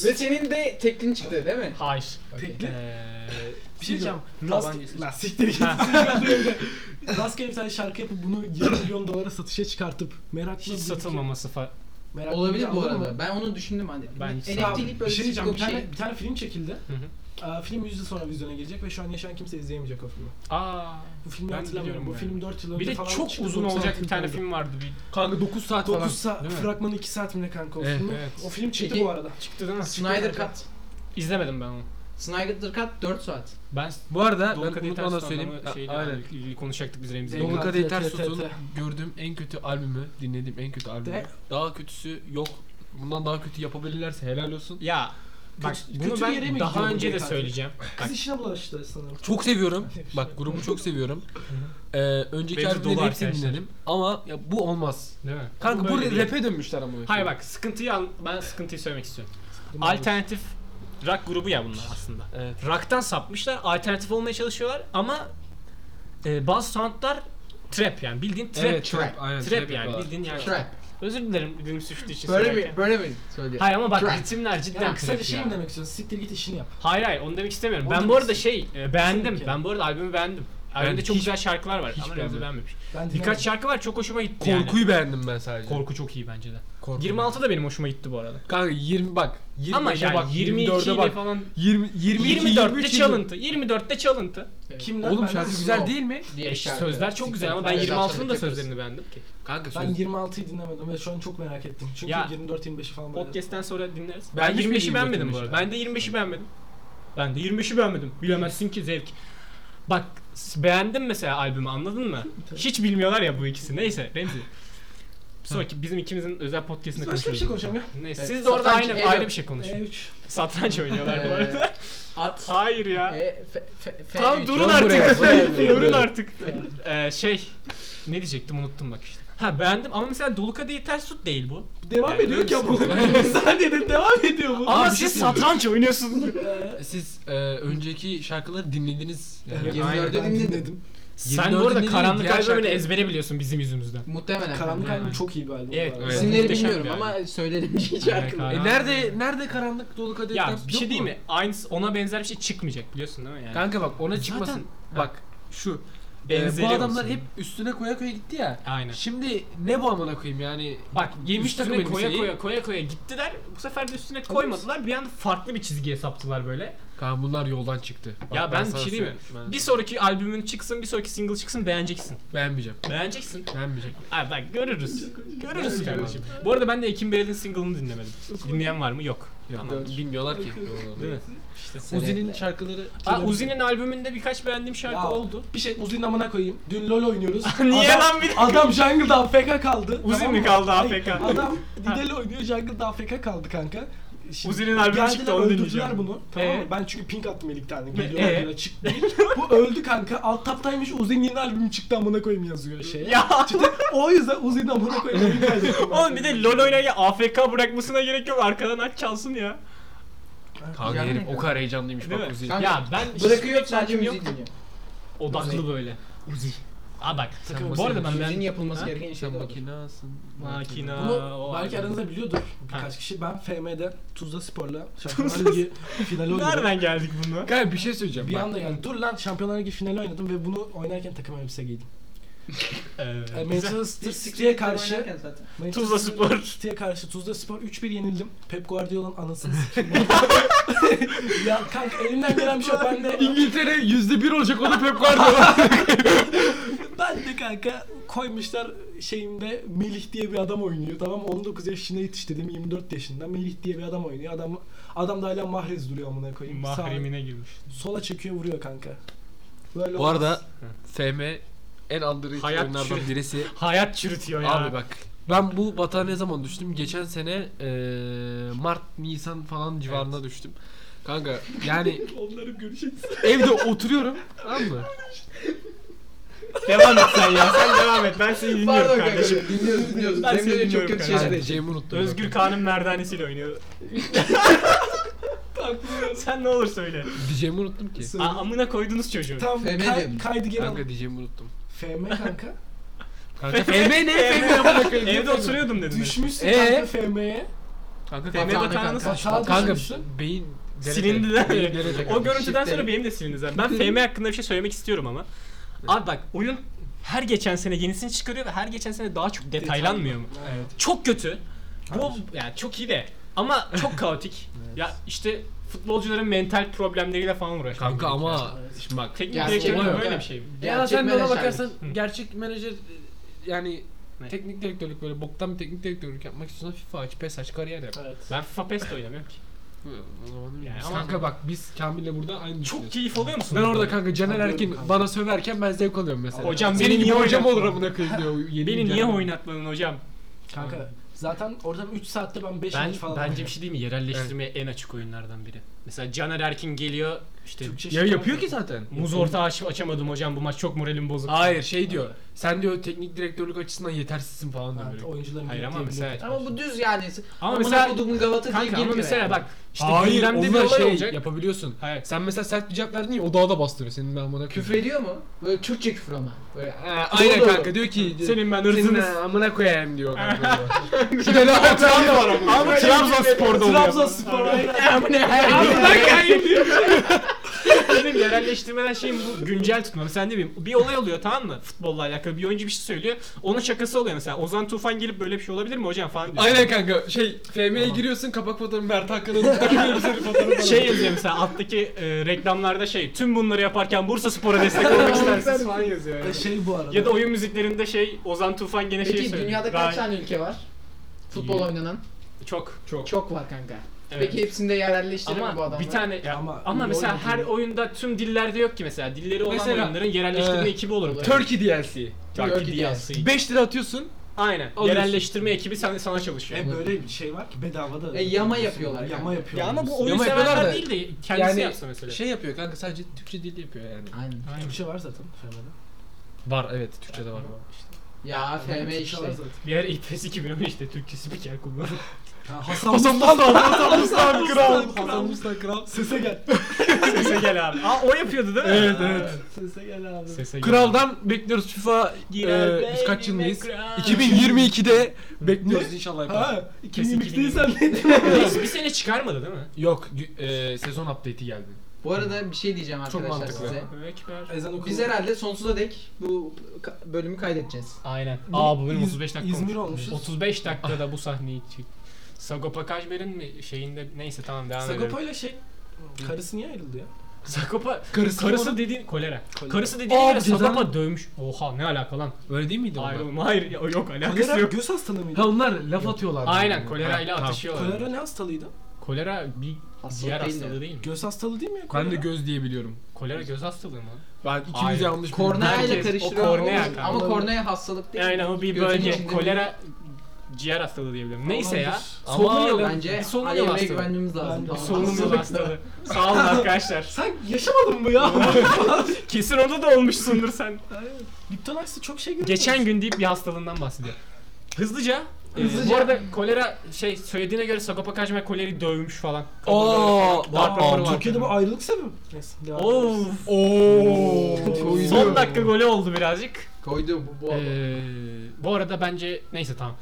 Speaker 3: Ve senin de teklin çıktı değil mi?
Speaker 1: Hayır.
Speaker 3: Okey.
Speaker 2: Tekli.
Speaker 1: Ee,
Speaker 2: Bir şey diyeceğim.
Speaker 1: Yabancısı.
Speaker 2: Lastik, lastikleri Rastgele bir tane şarkı yapıp bunu 20 milyon dolara satışa çıkartıp meraklı
Speaker 1: Hiç satılmaması fa-
Speaker 2: Meraklı
Speaker 3: Olabilir bu
Speaker 2: anladın mı?
Speaker 3: arada. Ben onu düşündüm hani.
Speaker 1: Ben-
Speaker 3: elektriklik
Speaker 2: Bir
Speaker 3: böyle
Speaker 2: şey diyeceğim. Bir
Speaker 3: bir şey.
Speaker 2: tane, bir tane film çekildi.
Speaker 1: Hı hı.
Speaker 2: Aa, film 100 yıl sonra vizyona girecek ve şu an yaşayan kimse izleyemeyecek o filmi.
Speaker 1: Aa.
Speaker 2: Bu filmi
Speaker 1: Ben
Speaker 2: hatırlamıyorum. Bu
Speaker 1: biliyorum
Speaker 2: film 4 yıl önce
Speaker 1: Bir de
Speaker 2: falan
Speaker 1: çok
Speaker 2: çıktı,
Speaker 1: uzun
Speaker 2: 96
Speaker 1: olacak bir tane
Speaker 2: oldu.
Speaker 1: film vardı. Bir
Speaker 4: Kanka 9 saat
Speaker 2: 9
Speaker 4: falan.
Speaker 2: saat,
Speaker 4: Değil mi?
Speaker 2: fragmanı 2 saat mi ne kanka o
Speaker 1: Evet,
Speaker 2: filmin?
Speaker 1: evet.
Speaker 2: O film çıktı
Speaker 3: Peki-
Speaker 2: bu arada.
Speaker 1: çıktı değil mi?
Speaker 3: Snyder Cut.
Speaker 1: İzlemedim ben onu.
Speaker 3: Snyder Cut 4 saat.
Speaker 1: Ben
Speaker 4: Bu arada
Speaker 1: Dolu
Speaker 4: ben
Speaker 1: Kadehi
Speaker 4: unutmadan
Speaker 1: Ters
Speaker 4: söyleyeyim.
Speaker 1: Tutun
Speaker 4: A-
Speaker 1: şeyini
Speaker 4: Aynen.
Speaker 1: abi, konuşacaktık biz Remzi'yle.
Speaker 2: Dolu
Speaker 4: Dolu
Speaker 1: Dolu
Speaker 2: Kadehi-
Speaker 4: Kadehi Ters
Speaker 2: TRT.
Speaker 4: Tutun gördüğüm en kötü albümü, dinlediğim en kötü albümü.
Speaker 2: De-
Speaker 4: Daha kötüsü yok. Bundan daha kötü yapabilirlerse helal olsun.
Speaker 1: Ya bak
Speaker 2: Kötü-
Speaker 1: bunu
Speaker 2: kötü yere
Speaker 1: ben
Speaker 2: mi
Speaker 1: daha
Speaker 2: gidiyor bu
Speaker 1: önce de
Speaker 2: rekabet?
Speaker 1: söyleyeceğim. Bak
Speaker 2: Kız işine bulaştı sanırım.
Speaker 4: Çok seviyorum. Bak grubu çok seviyorum. Ee, önceki
Speaker 1: Benzi
Speaker 4: albümleri
Speaker 1: dolu
Speaker 4: hepsini
Speaker 1: arkadaşlar.
Speaker 4: dinledim. Ama ya bu olmaz.
Speaker 1: değil mi?
Speaker 4: Kanka bu
Speaker 1: böyle değil.
Speaker 4: rap'e dönmüşler ama. şey.
Speaker 1: Hayır bak sıkıntıyı an- ben sıkıntıyı söylemek istiyorum. Alternatif rock grubu ya bunlar aslında.
Speaker 4: Evet.
Speaker 1: Rock'tan sapmışlar, alternatif olmaya çalışıyorlar ama e, bazı soundlar trap yani bildiğin trap.
Speaker 4: Evet,
Speaker 3: trap.
Speaker 4: Aynen,
Speaker 1: Trap, yani
Speaker 4: yapıyorlar.
Speaker 1: bildiğin yani.
Speaker 3: Trap.
Speaker 1: Özür dilerim dilim suçlu için
Speaker 3: Böyle
Speaker 1: söylerken.
Speaker 3: mi? Böyle mi? Söyle.
Speaker 1: Hayır ama bak
Speaker 3: Trap.
Speaker 1: ritimler cidden
Speaker 2: Yani kısa bir
Speaker 1: trap
Speaker 2: şey
Speaker 1: ya.
Speaker 2: mi demek istiyorsun? Siktir git işini yap.
Speaker 1: Hayır hayır onu demek istemiyorum.
Speaker 2: Onu
Speaker 1: ben
Speaker 2: demek
Speaker 1: bu arada şey e, beğendim.
Speaker 2: ki.
Speaker 1: Ben bu arada albümü beğendim. Albümde
Speaker 4: Ben
Speaker 1: çok
Speaker 4: hiç-
Speaker 1: güzel şarkılar var
Speaker 4: hiç
Speaker 1: ama Remzi
Speaker 4: beğenmedim.
Speaker 1: beğenmemiş.
Speaker 2: Ben
Speaker 1: Birkaç şarkı var çok hoşuma gitti
Speaker 4: Korkuyu
Speaker 1: yani.
Speaker 4: beğendim ben sadece.
Speaker 1: Korku çok iyi bence de.
Speaker 4: Korku.
Speaker 1: 26 da benim hoşuma gitti bu arada.
Speaker 4: Kanka 20 bak. 25'e
Speaker 1: Ama yani
Speaker 4: bak,
Speaker 1: 22
Speaker 4: 24'e bak.
Speaker 1: falan
Speaker 4: 20 22
Speaker 1: 24'te
Speaker 4: 23
Speaker 1: çalıntı. 24'te çalıntı. E,
Speaker 2: Kim lan?
Speaker 4: Oğlum
Speaker 2: Ben
Speaker 4: şarkı
Speaker 2: nasıl-
Speaker 4: güzel değil mi?
Speaker 3: diye şarkı.
Speaker 1: Sözler çok güzel ama ben
Speaker 3: Sözler
Speaker 1: 26'nın da
Speaker 3: çalıntı.
Speaker 1: sözlerini beğendim ki.
Speaker 4: Kanka
Speaker 2: Ben 26'yı dinlemedim ve şu an çok merak ettim. Çünkü
Speaker 1: Ya.
Speaker 2: 24-25'i falan böyle.
Speaker 1: Podcast'ten sonra dinleriz.
Speaker 4: Ben
Speaker 1: Ben,
Speaker 4: hiç
Speaker 1: 25'i beğenmedim bu
Speaker 4: 25'i
Speaker 1: arada. Ben de 25'i beğenmedim. Ben de 25'i beğenmedim. Bilemezsin ki zevk. Bak s- beğendim mesela albümü anladın mı? Hiç bilmiyorlar ya bu ikisi. Neyse Remzi. Bir sonraki bizim ikimizin özel podcast'inde
Speaker 2: Biz başka bir şey
Speaker 1: konuşuruz.
Speaker 2: konuşalım ya.
Speaker 1: Neyse
Speaker 3: Evet.
Speaker 1: siz de orada
Speaker 3: Satranç,
Speaker 1: aynı,
Speaker 3: Eylül.
Speaker 1: ayrı bir şey konuşun.
Speaker 2: E3.
Speaker 1: Satranç oynuyorlar bu
Speaker 3: Ee,
Speaker 1: arada.
Speaker 3: At.
Speaker 1: Hayır ya.
Speaker 3: E, fe, fe, fe,
Speaker 1: Tamam durun
Speaker 4: Dur buraya,
Speaker 1: artık.
Speaker 4: buraya, buraya,
Speaker 1: Durun
Speaker 4: buraya.
Speaker 1: artık. Ee, şey ne diyecektim unuttum bak işte. Ha beğendim ama mesela Dolukade'yi ters tut değil bu.
Speaker 2: Devam
Speaker 1: Yani
Speaker 2: ediyor
Speaker 1: öyle
Speaker 2: ki
Speaker 1: bir şey.
Speaker 2: bu. Saniyede devam ediyor bu.
Speaker 1: Ama
Speaker 4: Abi,
Speaker 1: siz
Speaker 4: bir şey
Speaker 1: satranç oynuyorsunuz.
Speaker 4: Siz e, önceki şarkıları dinlediniz. Yani.
Speaker 1: Evet.
Speaker 3: 24'ü
Speaker 2: Ben
Speaker 3: dinledim.
Speaker 1: Sen
Speaker 4: 24'ü
Speaker 1: bu arada
Speaker 4: dinledim,
Speaker 1: karanlık
Speaker 4: diğer
Speaker 1: albümünü
Speaker 4: şarkıyı-
Speaker 1: ezbere biliyorsun bizim yüzümüzden.
Speaker 3: Muhtemelen.
Speaker 2: Karanlık
Speaker 1: Aynen.
Speaker 2: albüm çok iyi bir albüm. bu
Speaker 1: Evet,
Speaker 2: arada.
Speaker 1: evet.
Speaker 3: İsimleri
Speaker 1: Muhteşem
Speaker 3: bilmiyorum
Speaker 1: yani.
Speaker 3: ama şey söylerim şarkını.
Speaker 1: Karan-
Speaker 4: E nerede nerede karanlık dolu kadeh
Speaker 1: Ya
Speaker 4: Ters-
Speaker 1: bir
Speaker 4: yok
Speaker 1: şey değil
Speaker 4: mu?
Speaker 1: mi? Aynı ona benzer bir şey çıkmayacak biliyorsun değil mi yani?
Speaker 4: Kanka bak ona çıkmasın.
Speaker 1: Ha.
Speaker 4: Bak şu. e,
Speaker 1: Benzeri
Speaker 4: bu adamlar
Speaker 1: olsun.
Speaker 4: hep üstüne koya koya gitti ya.
Speaker 1: Aynen.
Speaker 4: Şimdi ne bu amına koyayım yani?
Speaker 1: Bak yemiş
Speaker 4: Üstüne
Speaker 1: takım koya
Speaker 4: elbiseyi-
Speaker 1: koya koya koya gittiler. Bu sefer de üstüne koymadılar. Bir anda farklı bir çizgiye saptılar böyle.
Speaker 4: Kanka bunlar yoldan çıktı. Bak
Speaker 1: Ya ben bir
Speaker 4: sana
Speaker 1: şey diyeyim mi?
Speaker 4: söyleyeyim. Ben-
Speaker 1: Bir sonraki albümün çıksın, bir sonraki single çıksın beğeneceksin.
Speaker 4: beğenmeyeceğim.
Speaker 1: Beğeneceksin.
Speaker 4: Beğenmeyeceğim.
Speaker 1: Abi bak görürüz. Görürüz kardeşim. Bu arada ben de Ekim Bey'in single'ını dinlemedim. Dinleyen var mı? Yok.
Speaker 4: Yok,
Speaker 1: Tamam.
Speaker 4: bilmiyorlar ki.
Speaker 1: Değil mi?
Speaker 4: Uzi'nin şarkıları
Speaker 1: Aa, Uzi'nin albümünde birkaç beğendiğim şarkı
Speaker 2: Ya,
Speaker 1: oldu.
Speaker 2: Bir şey Uzi'nin amına koyayım. Dün LoL oynuyoruz.
Speaker 1: Niye
Speaker 2: Adam-
Speaker 1: lan bir de?
Speaker 2: Adam jungle'da AFK kaldı.
Speaker 1: Uzi
Speaker 2: tamam
Speaker 1: mi kaldı
Speaker 2: Hayır,
Speaker 1: AFK?
Speaker 2: Adam Lidl oynuyor jungle'da AFK kaldı kanka. Şimdi
Speaker 1: Uzi'nin albümü
Speaker 2: geldiler,
Speaker 1: çıktı, onu
Speaker 2: öldürdüler
Speaker 1: dinleyeceğim.
Speaker 2: bunu. Tamam mı?
Speaker 1: Ee?
Speaker 2: Ben çünkü pink attım ilk tane. Geliyor
Speaker 1: Ee?
Speaker 2: böyle çık değil. Bu öldü kanka. Alt taptaymış Uzi'nin yeni albümü çıktı amına koyayım yazıyor şey.
Speaker 1: Ee, Ya Ee,
Speaker 2: o yüzden Uzi'nin amına koyayım.
Speaker 1: oğlum bir de LoL oynarken AFK bırakmasına gerek yok. Arkadan aç çalsın ya.
Speaker 4: Kanka
Speaker 3: Yani-
Speaker 4: herif o kadar heyecanlıymış
Speaker 1: Değil
Speaker 4: bak
Speaker 1: mi?
Speaker 4: Uzi.
Speaker 3: Kanka,
Speaker 1: Ya ben
Speaker 3: Bırakıyor sadece
Speaker 1: şarkım şey yok.
Speaker 3: müziği dinliyor.
Speaker 1: Odaklı böyle. Uzi. Aa bak.
Speaker 4: Sen
Speaker 1: bu arada
Speaker 4: makine-
Speaker 1: ben
Speaker 3: Müziğin
Speaker 1: ben
Speaker 3: yapılması
Speaker 1: Ha?
Speaker 3: gereken şey
Speaker 4: Sen
Speaker 3: de odur.
Speaker 4: makinasın.
Speaker 1: makina.
Speaker 2: Bunu
Speaker 1: o
Speaker 2: belki
Speaker 1: albüm.
Speaker 2: aranızda biliyordur
Speaker 1: Ha.
Speaker 2: birkaç kişi. Ben FM'den Tuzla Spor'la Şampiyonlar Ligi finali oynadım.
Speaker 1: Nereden geldik buna?
Speaker 4: Kanka bir şey söyleyeceğim.
Speaker 2: Bir
Speaker 4: bak.
Speaker 2: anda yani dur lan Şampiyonlar Ligi finali oynadım ve bunu oynarken takım elbise giydim.
Speaker 1: Evet.
Speaker 2: Yani Manchester City'ye karşı
Speaker 3: Oynarken zaten.
Speaker 2: Manchester
Speaker 1: Tuzla Spor.
Speaker 2: City'ye karşı Tuzla Spor 3-1 yenildim. Pep Guardiola'nın anasını sikeyim. ya kanka elimden gelen bir şey yok. Ben de,
Speaker 4: İngiltere yüzde bir olacak o da Pep Guardiola.
Speaker 2: ben de kanka koymuşlar şeyimde Melih diye bir adam oynuyor. Tamam mı? 19 yaşına yetiştirdim 24 yaşında. Melih diye bir adam oynuyor. Adam adam da hala mahrez duruyor amına koyayım. Sağ-
Speaker 1: Mahremine girmiş.
Speaker 2: sola çekiyor vuruyor kanka. Böyle
Speaker 4: Bu arada FM en andırıcı
Speaker 1: Hayat
Speaker 4: oyunlardan
Speaker 1: çürü-
Speaker 4: birisi.
Speaker 1: Hayat çürütüyor ya.
Speaker 4: Abi bak. Ben bu batağa ne zaman düştüm? Geçen sene eee, Mart, Nisan falan civarında düştüm. Kanka yani
Speaker 2: onları görüşeceğiz.
Speaker 4: evde oturuyorum tamam mı?
Speaker 1: Devam et sen ya. Sen devam et. Ben seni dinliyorum
Speaker 3: Pardon kanka.
Speaker 1: kardeşim.
Speaker 3: Dinliyoruz dinliyoruz.
Speaker 1: Ben seni
Speaker 3: Cemre de çok
Speaker 1: dinliyorum
Speaker 3: kötü
Speaker 1: kanka.
Speaker 3: şeyler
Speaker 4: Yani
Speaker 3: yaşadı.
Speaker 4: Cem'i unuttum.
Speaker 1: Özgür
Speaker 4: zaten.
Speaker 1: Kağan'ın merdanesiyle oynuyor. sen ne olur söyle.
Speaker 4: Diyeceğimi unuttum ki.
Speaker 1: Aa, amına koydunuz çocuğu.
Speaker 2: Tam
Speaker 3: FM
Speaker 2: kay,
Speaker 3: diyorum.
Speaker 2: kaydı geri al.
Speaker 4: Kanka diyeceğimi unuttum.
Speaker 2: FM kanka.
Speaker 4: Kanka FM ne? FM
Speaker 1: Evde oturuyordum dedim.
Speaker 2: Düşmüşsün
Speaker 4: Ee?
Speaker 2: kanka FM'ye.
Speaker 4: Kanka
Speaker 1: FM
Speaker 4: kanka.
Speaker 1: Bakanı nasıl
Speaker 2: Aşağı
Speaker 4: Kanka
Speaker 2: düşmüşsün.
Speaker 4: beyin
Speaker 1: silindi de.
Speaker 4: Beyinlere de
Speaker 1: o görüntüden
Speaker 3: Şifreli.
Speaker 1: sonra benim de silindi zaten. Ben FM hakkında bir şey söylemek istiyorum ama. Abi bak oyun her geçen sene yenisini çıkarıyor ve her geçen sene daha çok detaylanmıyor mu?
Speaker 2: Evet.
Speaker 1: Çok kötü. Bu yani çok iyi de ama çok kaotik. Ya işte futbolcuların mental problemleriyle falan uğraşıyor.
Speaker 4: Kanka ama şimdi bak.
Speaker 1: teknik
Speaker 3: Ya,
Speaker 1: direktörün
Speaker 3: olay yok
Speaker 1: böyle
Speaker 3: ya.
Speaker 1: bir şey mi?
Speaker 4: Ya
Speaker 3: Gerçek
Speaker 4: sen de ona
Speaker 3: menajerlik.
Speaker 4: bakarsan
Speaker 1: Hı.
Speaker 4: gerçek menajer e, yani
Speaker 1: Ne?
Speaker 4: teknik direktörlük böyle boktan bir teknik direktörlük yapmak istiyorsan FIFA aç, PES aç, kariyer yap.
Speaker 2: Evet.
Speaker 1: Ben FIFA PES'te oynamıyorum ki.
Speaker 4: O zaman değil mi?
Speaker 1: Yani
Speaker 4: Biz
Speaker 1: ama-
Speaker 4: kanka bak biz Kamil'le burada aynı
Speaker 1: Çok
Speaker 4: düşünüyoruz.
Speaker 1: keyif alıyor musun?
Speaker 4: Ben orada kanka Caner
Speaker 2: Anlıyorum
Speaker 4: Erkin
Speaker 2: kanka.
Speaker 4: bana söverken ben zevk alıyorum mesela.
Speaker 1: Hocam
Speaker 4: Senin
Speaker 1: beni
Speaker 4: gibi
Speaker 1: niye
Speaker 4: hocam
Speaker 1: oynatmadın?
Speaker 4: olur amına koyayım diyor. yeni
Speaker 1: Beni
Speaker 4: bir
Speaker 1: niye
Speaker 4: Caner.
Speaker 1: oynatmadın hocam?
Speaker 2: Kanka zaten oradan 3 saatte ben 5
Speaker 1: Ben
Speaker 2: maç falan
Speaker 1: bence bir şey değil mi? Yerelleştirmeye en açık oyunlardan biri. Mesela Caner Erkin geliyor işte
Speaker 2: Türkçe
Speaker 4: Ya yapıyor ki zaten.
Speaker 1: muz orta aç- açamadım hocam bu maç çok moralim bozuk.
Speaker 4: Hayır şey diyor. Sen diyor teknik direktörlük açısından yetersizsin falan diyor.
Speaker 2: Evet,
Speaker 4: böyle.
Speaker 2: oyuncuların
Speaker 1: Hayır ama
Speaker 2: yönettiği
Speaker 1: mesela-
Speaker 3: Ama bu düz yani.
Speaker 1: Ama
Speaker 3: Amına
Speaker 1: mesela-
Speaker 3: kodumun gavatı diye
Speaker 1: Kanka ama
Speaker 3: girmiyor
Speaker 1: mesela
Speaker 3: yani.
Speaker 1: bak işte
Speaker 4: Hayır,
Speaker 1: gündemde bir
Speaker 4: onlar
Speaker 1: olay
Speaker 4: şey
Speaker 1: olacak.
Speaker 4: yapabiliyorsun.
Speaker 1: Hayır.
Speaker 4: Sen mesela sert bir cevap verdin ya o daha da bastırıyor senin ben amına koyayım.
Speaker 3: Küfür ediyor mu? Böyle Türkçe küfür ama. Böyle
Speaker 4: Ee, aynen
Speaker 3: Doğru.
Speaker 4: kanka diyor ki
Speaker 1: Senin ben
Speaker 4: senin
Speaker 1: hırsınız.
Speaker 4: ha, amına koyayım diyor kanka. Şöyle hatan da var ama.
Speaker 1: Ama Trabzonspor'da oluyor.
Speaker 2: Trabzonspor.
Speaker 1: Amına koyayım diyor. benim yerelleştirmeden şeyim bu güncel tutmam. Sen ne bileyim bir olay oluyor tamam mı? Futbolla alakalı bir oyuncu bir şey söylüyor. Onun şakası oluyor mesela. Ozan Tufan gelip böyle bir şey olabilir mi hocam falan diyor.
Speaker 4: Aynen kanka şey FM'ye giriyorsun kapak fotoğrafı Mert Hakan'ın
Speaker 1: Şey yazıyor mesela alttaki e, reklamlarda şey tüm bunları yaparken Bursa Spor'a destek olmak istersiniz falan yazıyor. yani.
Speaker 2: Şey bu arada.
Speaker 1: Ya da oyun müziklerinde şey Ozan Tufan gene şey
Speaker 3: Peki
Speaker 1: söylüyor.
Speaker 3: dünyada kaç
Speaker 1: Ra-
Speaker 3: tane ülke var? Futbol
Speaker 1: İyi.
Speaker 3: oynanan.
Speaker 1: Çok çok.
Speaker 3: Çok var kanka.
Speaker 1: Evet.
Speaker 3: Peki hepsinde yerelleştirir mi bu
Speaker 1: ama
Speaker 3: adamlar?
Speaker 1: bir tane ya- ama,
Speaker 2: Ama-
Speaker 1: mesela her
Speaker 2: oyun-
Speaker 1: oyunda tüm dillerde yok ki mesela dilleri olan
Speaker 4: Mesela,
Speaker 1: oyunların yerelleştirme
Speaker 4: e,
Speaker 1: ekibi olur.
Speaker 4: Turkey DLC.
Speaker 1: Turkey
Speaker 3: Turkey
Speaker 1: DLC. 'yi.
Speaker 4: 5 lira atıyorsun.
Speaker 1: Aynen.
Speaker 4: Alıyorsun.
Speaker 1: Yerelleştirme ekibi sana, sana çalışıyor.
Speaker 2: E böyle bir şey var ki bedava da.
Speaker 3: E, yama yapıyorlar
Speaker 2: Yama
Speaker 3: kanka.
Speaker 2: yapıyorlar.
Speaker 1: Ya ama bu oyun
Speaker 4: Yama
Speaker 1: severler
Speaker 4: yapıyorlar da-
Speaker 1: değil de kendisi
Speaker 4: Yani
Speaker 1: yapsa mesela.
Speaker 4: Şey yapıyor kanka sadece Türkçe dil yapıyor yani.
Speaker 3: Aynen.
Speaker 1: Aynen.
Speaker 2: Türkçe şey var zaten FM'de.
Speaker 4: Var evet Türkçe'de var.
Speaker 3: Ya FM
Speaker 2: Türkçe
Speaker 3: işte.
Speaker 2: şey var zaten.
Speaker 1: Bir yer İTS 2013'te Türkçe spiker kullanıyor.
Speaker 2: Ha, Hasan Mustafa. Hasan Mustafa Kral. Hasan Mustafa Kral. Sese gel.
Speaker 1: Sese gel abi. Aa o yapıyordu değil mi?
Speaker 4: Evet,
Speaker 1: Aa,
Speaker 4: evet.
Speaker 2: Sese gel abi.
Speaker 1: Sese gel.
Speaker 4: Kraldan bekliyoruz FIFA
Speaker 1: Girer
Speaker 4: e, biz kaç
Speaker 1: baby
Speaker 4: yılındayız?
Speaker 1: kral.
Speaker 4: 2022'de bekliyoruz inşallah yapar.
Speaker 2: Ha,
Speaker 1: Kesin
Speaker 2: 2022'deyi sen ne
Speaker 1: Neyse, bir sene çıkarmadı değil mi?
Speaker 4: Yok gü- e, sezon update'i geldi.
Speaker 3: Bu arada bir şey diyeceğim arkadaşlar
Speaker 4: mantıklı.
Speaker 3: size.
Speaker 1: Ekber.
Speaker 2: Ezan okulu.
Speaker 3: Biz herhalde sonsuza dek bu ka- bölümü kaydedeceğiz.
Speaker 1: Aynen. Aa bu benim
Speaker 2: İz-
Speaker 1: 35 dakika
Speaker 2: İzmir
Speaker 1: olmuş.
Speaker 2: olmuşuz.
Speaker 1: 35 dakikada bu sahneyi çek. Sagopa Kajmer'in mi şeyinde neyse tamam devam edelim.
Speaker 2: Sagopa ile şey karısı niye ayrıldı ya?
Speaker 1: Sagopa
Speaker 4: Karısı
Speaker 1: karısı,
Speaker 4: mı?
Speaker 1: dediğin kolera.
Speaker 2: Kolera.
Speaker 1: Karısı dediğine
Speaker 4: Aa,
Speaker 1: göre
Speaker 4: cezanı-
Speaker 1: Sagopa dövmüş. Oha ne alaka lan?
Speaker 4: Öyle değil miydi onlar?
Speaker 1: Ayrılma hayır ya- yok alakası
Speaker 2: Kolera
Speaker 1: yok.
Speaker 2: göz hastalığı mıydı?
Speaker 4: Ha onlar laf atıyorlar.
Speaker 1: Aynen
Speaker 4: birbirine.
Speaker 1: kolerayla
Speaker 4: Ha,
Speaker 1: atışıyorlar.
Speaker 2: Kolera ne hastalığıydı?
Speaker 1: Kolera bir
Speaker 3: Hastalık
Speaker 1: ciğer
Speaker 3: değil de.
Speaker 1: hastalığı değil mi?
Speaker 2: Göz hastalığı değil mi ya?
Speaker 4: tamam. Ben de
Speaker 2: kolera?
Speaker 4: göz diye biliyorum.
Speaker 1: Kolera göz hastalığı mı?
Speaker 4: Ben ikimiz
Speaker 1: Hayır.
Speaker 4: yanlış
Speaker 3: Kornea
Speaker 1: Herkes-
Speaker 3: ile
Speaker 1: o
Speaker 3: karıştırıyor.
Speaker 1: kornea
Speaker 3: olabilir. Ama
Speaker 2: kanka.
Speaker 3: kornea hastalık değil.
Speaker 1: Aynen o bir
Speaker 3: Gözün
Speaker 1: bölge.
Speaker 3: içinde
Speaker 1: Kolera ciğer hastalığı diyebilirim. Neyse ya.
Speaker 4: Olabilir.
Speaker 1: Solunum yolu
Speaker 3: bir- Bence
Speaker 1: Bir solunum yolu
Speaker 3: AYM'ye
Speaker 1: hastalığı.
Speaker 3: güvenmemiz lazım.
Speaker 2: Ben-
Speaker 1: Bir
Speaker 3: Tamam.
Speaker 1: Solunum yolu
Speaker 2: Hastalık.
Speaker 1: hastalığı. Sağ olun arkadaşlar.
Speaker 2: Sen yaşamadın mı ya?
Speaker 1: Kesin onda da olmuşsundur sen.
Speaker 2: Aynen. Lipton Ice'da çok şey görüyoruz.
Speaker 1: Geçen gün deyip bir hastalığından bahsediyor. Hızlıca. e,
Speaker 3: Hızlıca.
Speaker 1: bu arada kolera şey söylediğine göre Sagopa Kajmer koleri dövmüş falan.
Speaker 4: Oo,
Speaker 1: Darp raporu var.
Speaker 2: Türkiye'de bu ayrılık sebebi. Neyse devam edelim.
Speaker 1: Of.
Speaker 4: Oo.
Speaker 3: Koydu.
Speaker 1: Son dakika golü oldu birazcık.
Speaker 3: Koydu bu bu.
Speaker 1: Ee, bu arada bence neyse tamam.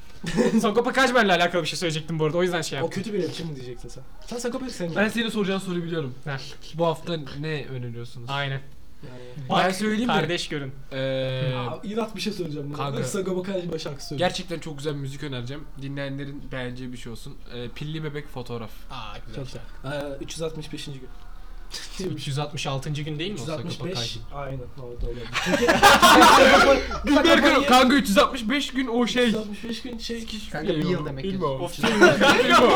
Speaker 1: Sagopa Kajmer'le alakalı bir şey söyleyecektim bu arada. O yüzden şey
Speaker 2: O
Speaker 1: yaptım.
Speaker 2: kötü bir rapçi mi diyeceksin sen? Sen Sagopa'yı
Speaker 4: Ben
Speaker 2: sevmiyorsun.
Speaker 4: senin soracağın soruyu biliyorum.
Speaker 1: Ha,
Speaker 4: Bu hafta ne öneriyorsunuz?
Speaker 1: Aynen.
Speaker 2: Yani-
Speaker 4: Ben
Speaker 1: Bak,
Speaker 4: söyleyeyim mi?
Speaker 1: Kardeş görün.
Speaker 4: Ee,
Speaker 2: Aa, İnat bir şey söyleyeceğim.
Speaker 4: Kanka.
Speaker 2: Kanka. Sagopa Kajmer şarkısı söylüyor.
Speaker 4: gerçekten çok güzel bir müzik önereceğim. Dinleyenlerin beğeneceği bir şey olsun. Ee, pilli bebek fotoğraf.
Speaker 1: Aa,
Speaker 2: Çok güzel. Ee, 365. gün.
Speaker 1: 366. gün değil mi o Sagopa
Speaker 2: 365.
Speaker 1: Kajmer?
Speaker 2: Aynen. Orada olabilir.
Speaker 4: Günler
Speaker 2: Sakopa'yı-
Speaker 4: kanka 365 gün o şey.
Speaker 2: 365 gün şey.
Speaker 3: Kanka bir yıl demek ki.
Speaker 4: Bilmiyorum.
Speaker 1: Of,
Speaker 4: Bilmiyorum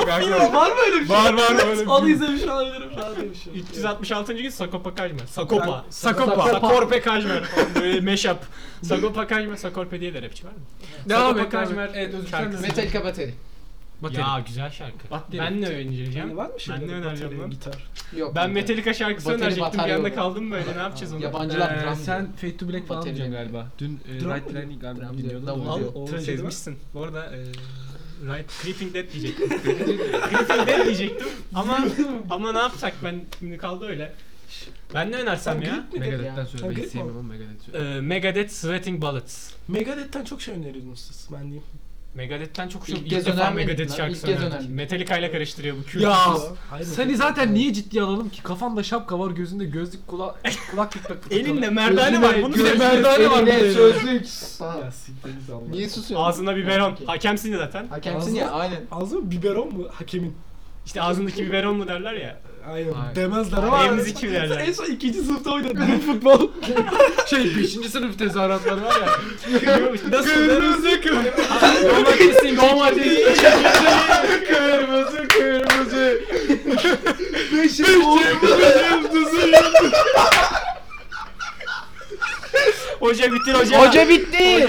Speaker 4: kanka.
Speaker 2: Var mı öyle bir şey?
Speaker 4: Var var öyle.
Speaker 2: Onu izlemiş olabilirim. Daha demişim.
Speaker 1: 366. gün Sagopa Kajmer. Sakopa.
Speaker 2: Ben-
Speaker 1: Sakopa.
Speaker 2: Sakopa.
Speaker 1: Sakorpe Kajmer. Böyle mashup. Sagopa Kajmer, Sakorpe diye de rapçi var mı?
Speaker 4: Devam
Speaker 1: Sagopa
Speaker 4: et, devam et.
Speaker 1: Kajmer
Speaker 4: Evet, özür dilerim.
Speaker 1: şarkısı.
Speaker 3: Metallica bateri.
Speaker 1: Ya güzel şarkı.
Speaker 4: Bateri.
Speaker 1: Ben ne önereceğim?
Speaker 2: Yani var mı şey?
Speaker 1: Ben ne
Speaker 2: Batarya,
Speaker 1: önereceğim lan?
Speaker 2: Gitar.
Speaker 3: Yok.
Speaker 1: Ben
Speaker 3: kanka.
Speaker 1: Metallica şarkısı
Speaker 3: Bateri,
Speaker 1: önerecektim bir
Speaker 3: batarya
Speaker 1: anda
Speaker 3: yok.
Speaker 1: kaldım böyle ne yapacağız onu?
Speaker 3: Yabancılar drum
Speaker 4: Ee,
Speaker 3: diyor.
Speaker 4: sen Fade to Black falan
Speaker 3: Bateri
Speaker 4: diyeceksin
Speaker 3: benim.
Speaker 4: galiba. Dün e,
Speaker 2: Drum
Speaker 4: Right
Speaker 2: mı?
Speaker 4: Landing
Speaker 3: Drum
Speaker 4: galiba
Speaker 3: diyor,
Speaker 4: dinliyordun. Ee,
Speaker 3: davul
Speaker 4: da.
Speaker 1: Al
Speaker 3: diyor.
Speaker 2: O
Speaker 1: tır
Speaker 2: şey değil mi?
Speaker 1: ezmişsin. Bu arada e, Right Creeping Dead diyecektim. Creeping Dead diyecektim ama ama ne yapsak ben şimdi kaldı öyle. Ben ne önersem ya?
Speaker 4: Megadeth'ten Ee, söyle. Ben
Speaker 2: Megadeth
Speaker 4: hiç sevmem
Speaker 2: mi?
Speaker 4: ama Megadeth söyle.
Speaker 1: E, Megadeth Sweating Bullets.
Speaker 2: Megadeth'ten çok şey öneriyordunuz siz. Ben diyeyim.
Speaker 1: Megadeth'ten çok çok
Speaker 3: İlk
Speaker 1: ilk
Speaker 3: kez
Speaker 1: defa
Speaker 3: önermedik
Speaker 1: Megadeth
Speaker 3: lan,
Speaker 1: şarkısı
Speaker 3: ilk kez
Speaker 1: önerdik.
Speaker 3: önerdik.
Speaker 1: Metallica ile karıştırıyor bu Kürt.
Speaker 4: Ya.
Speaker 2: Hayır,
Speaker 4: Seni zaten niye ciddiye alalım ki? Kafanda şapka var, gözünde gözlük, kula kulak tıkla
Speaker 1: Elinde merdane var. Bunu
Speaker 4: gözüne-
Speaker 1: söyle.
Speaker 4: merdane var bir de.
Speaker 3: Eline sözlük.
Speaker 2: Ya siktiriniz Allah.
Speaker 3: Niye susuyorsun?
Speaker 1: Ağzında biberon. Hakemsin zaten.
Speaker 3: Hakemsin ya aynen.
Speaker 2: Ağzı mı biberon mu? Hakemin.
Speaker 1: İşte ağzındaki biberon mu derler ya.
Speaker 2: Aynen.
Speaker 4: Aynen.
Speaker 2: Demezler ama.
Speaker 1: Emzi kim derler?
Speaker 2: En son ikinci sınıfta oynadın futbol.
Speaker 4: Şey 5. sınıf tezahüratları var ya.
Speaker 1: Nasıl?
Speaker 4: Domatesin domatesin kırmızı kırmızı.
Speaker 2: Beşim
Speaker 1: Hoca bitir hoca.
Speaker 3: bitti.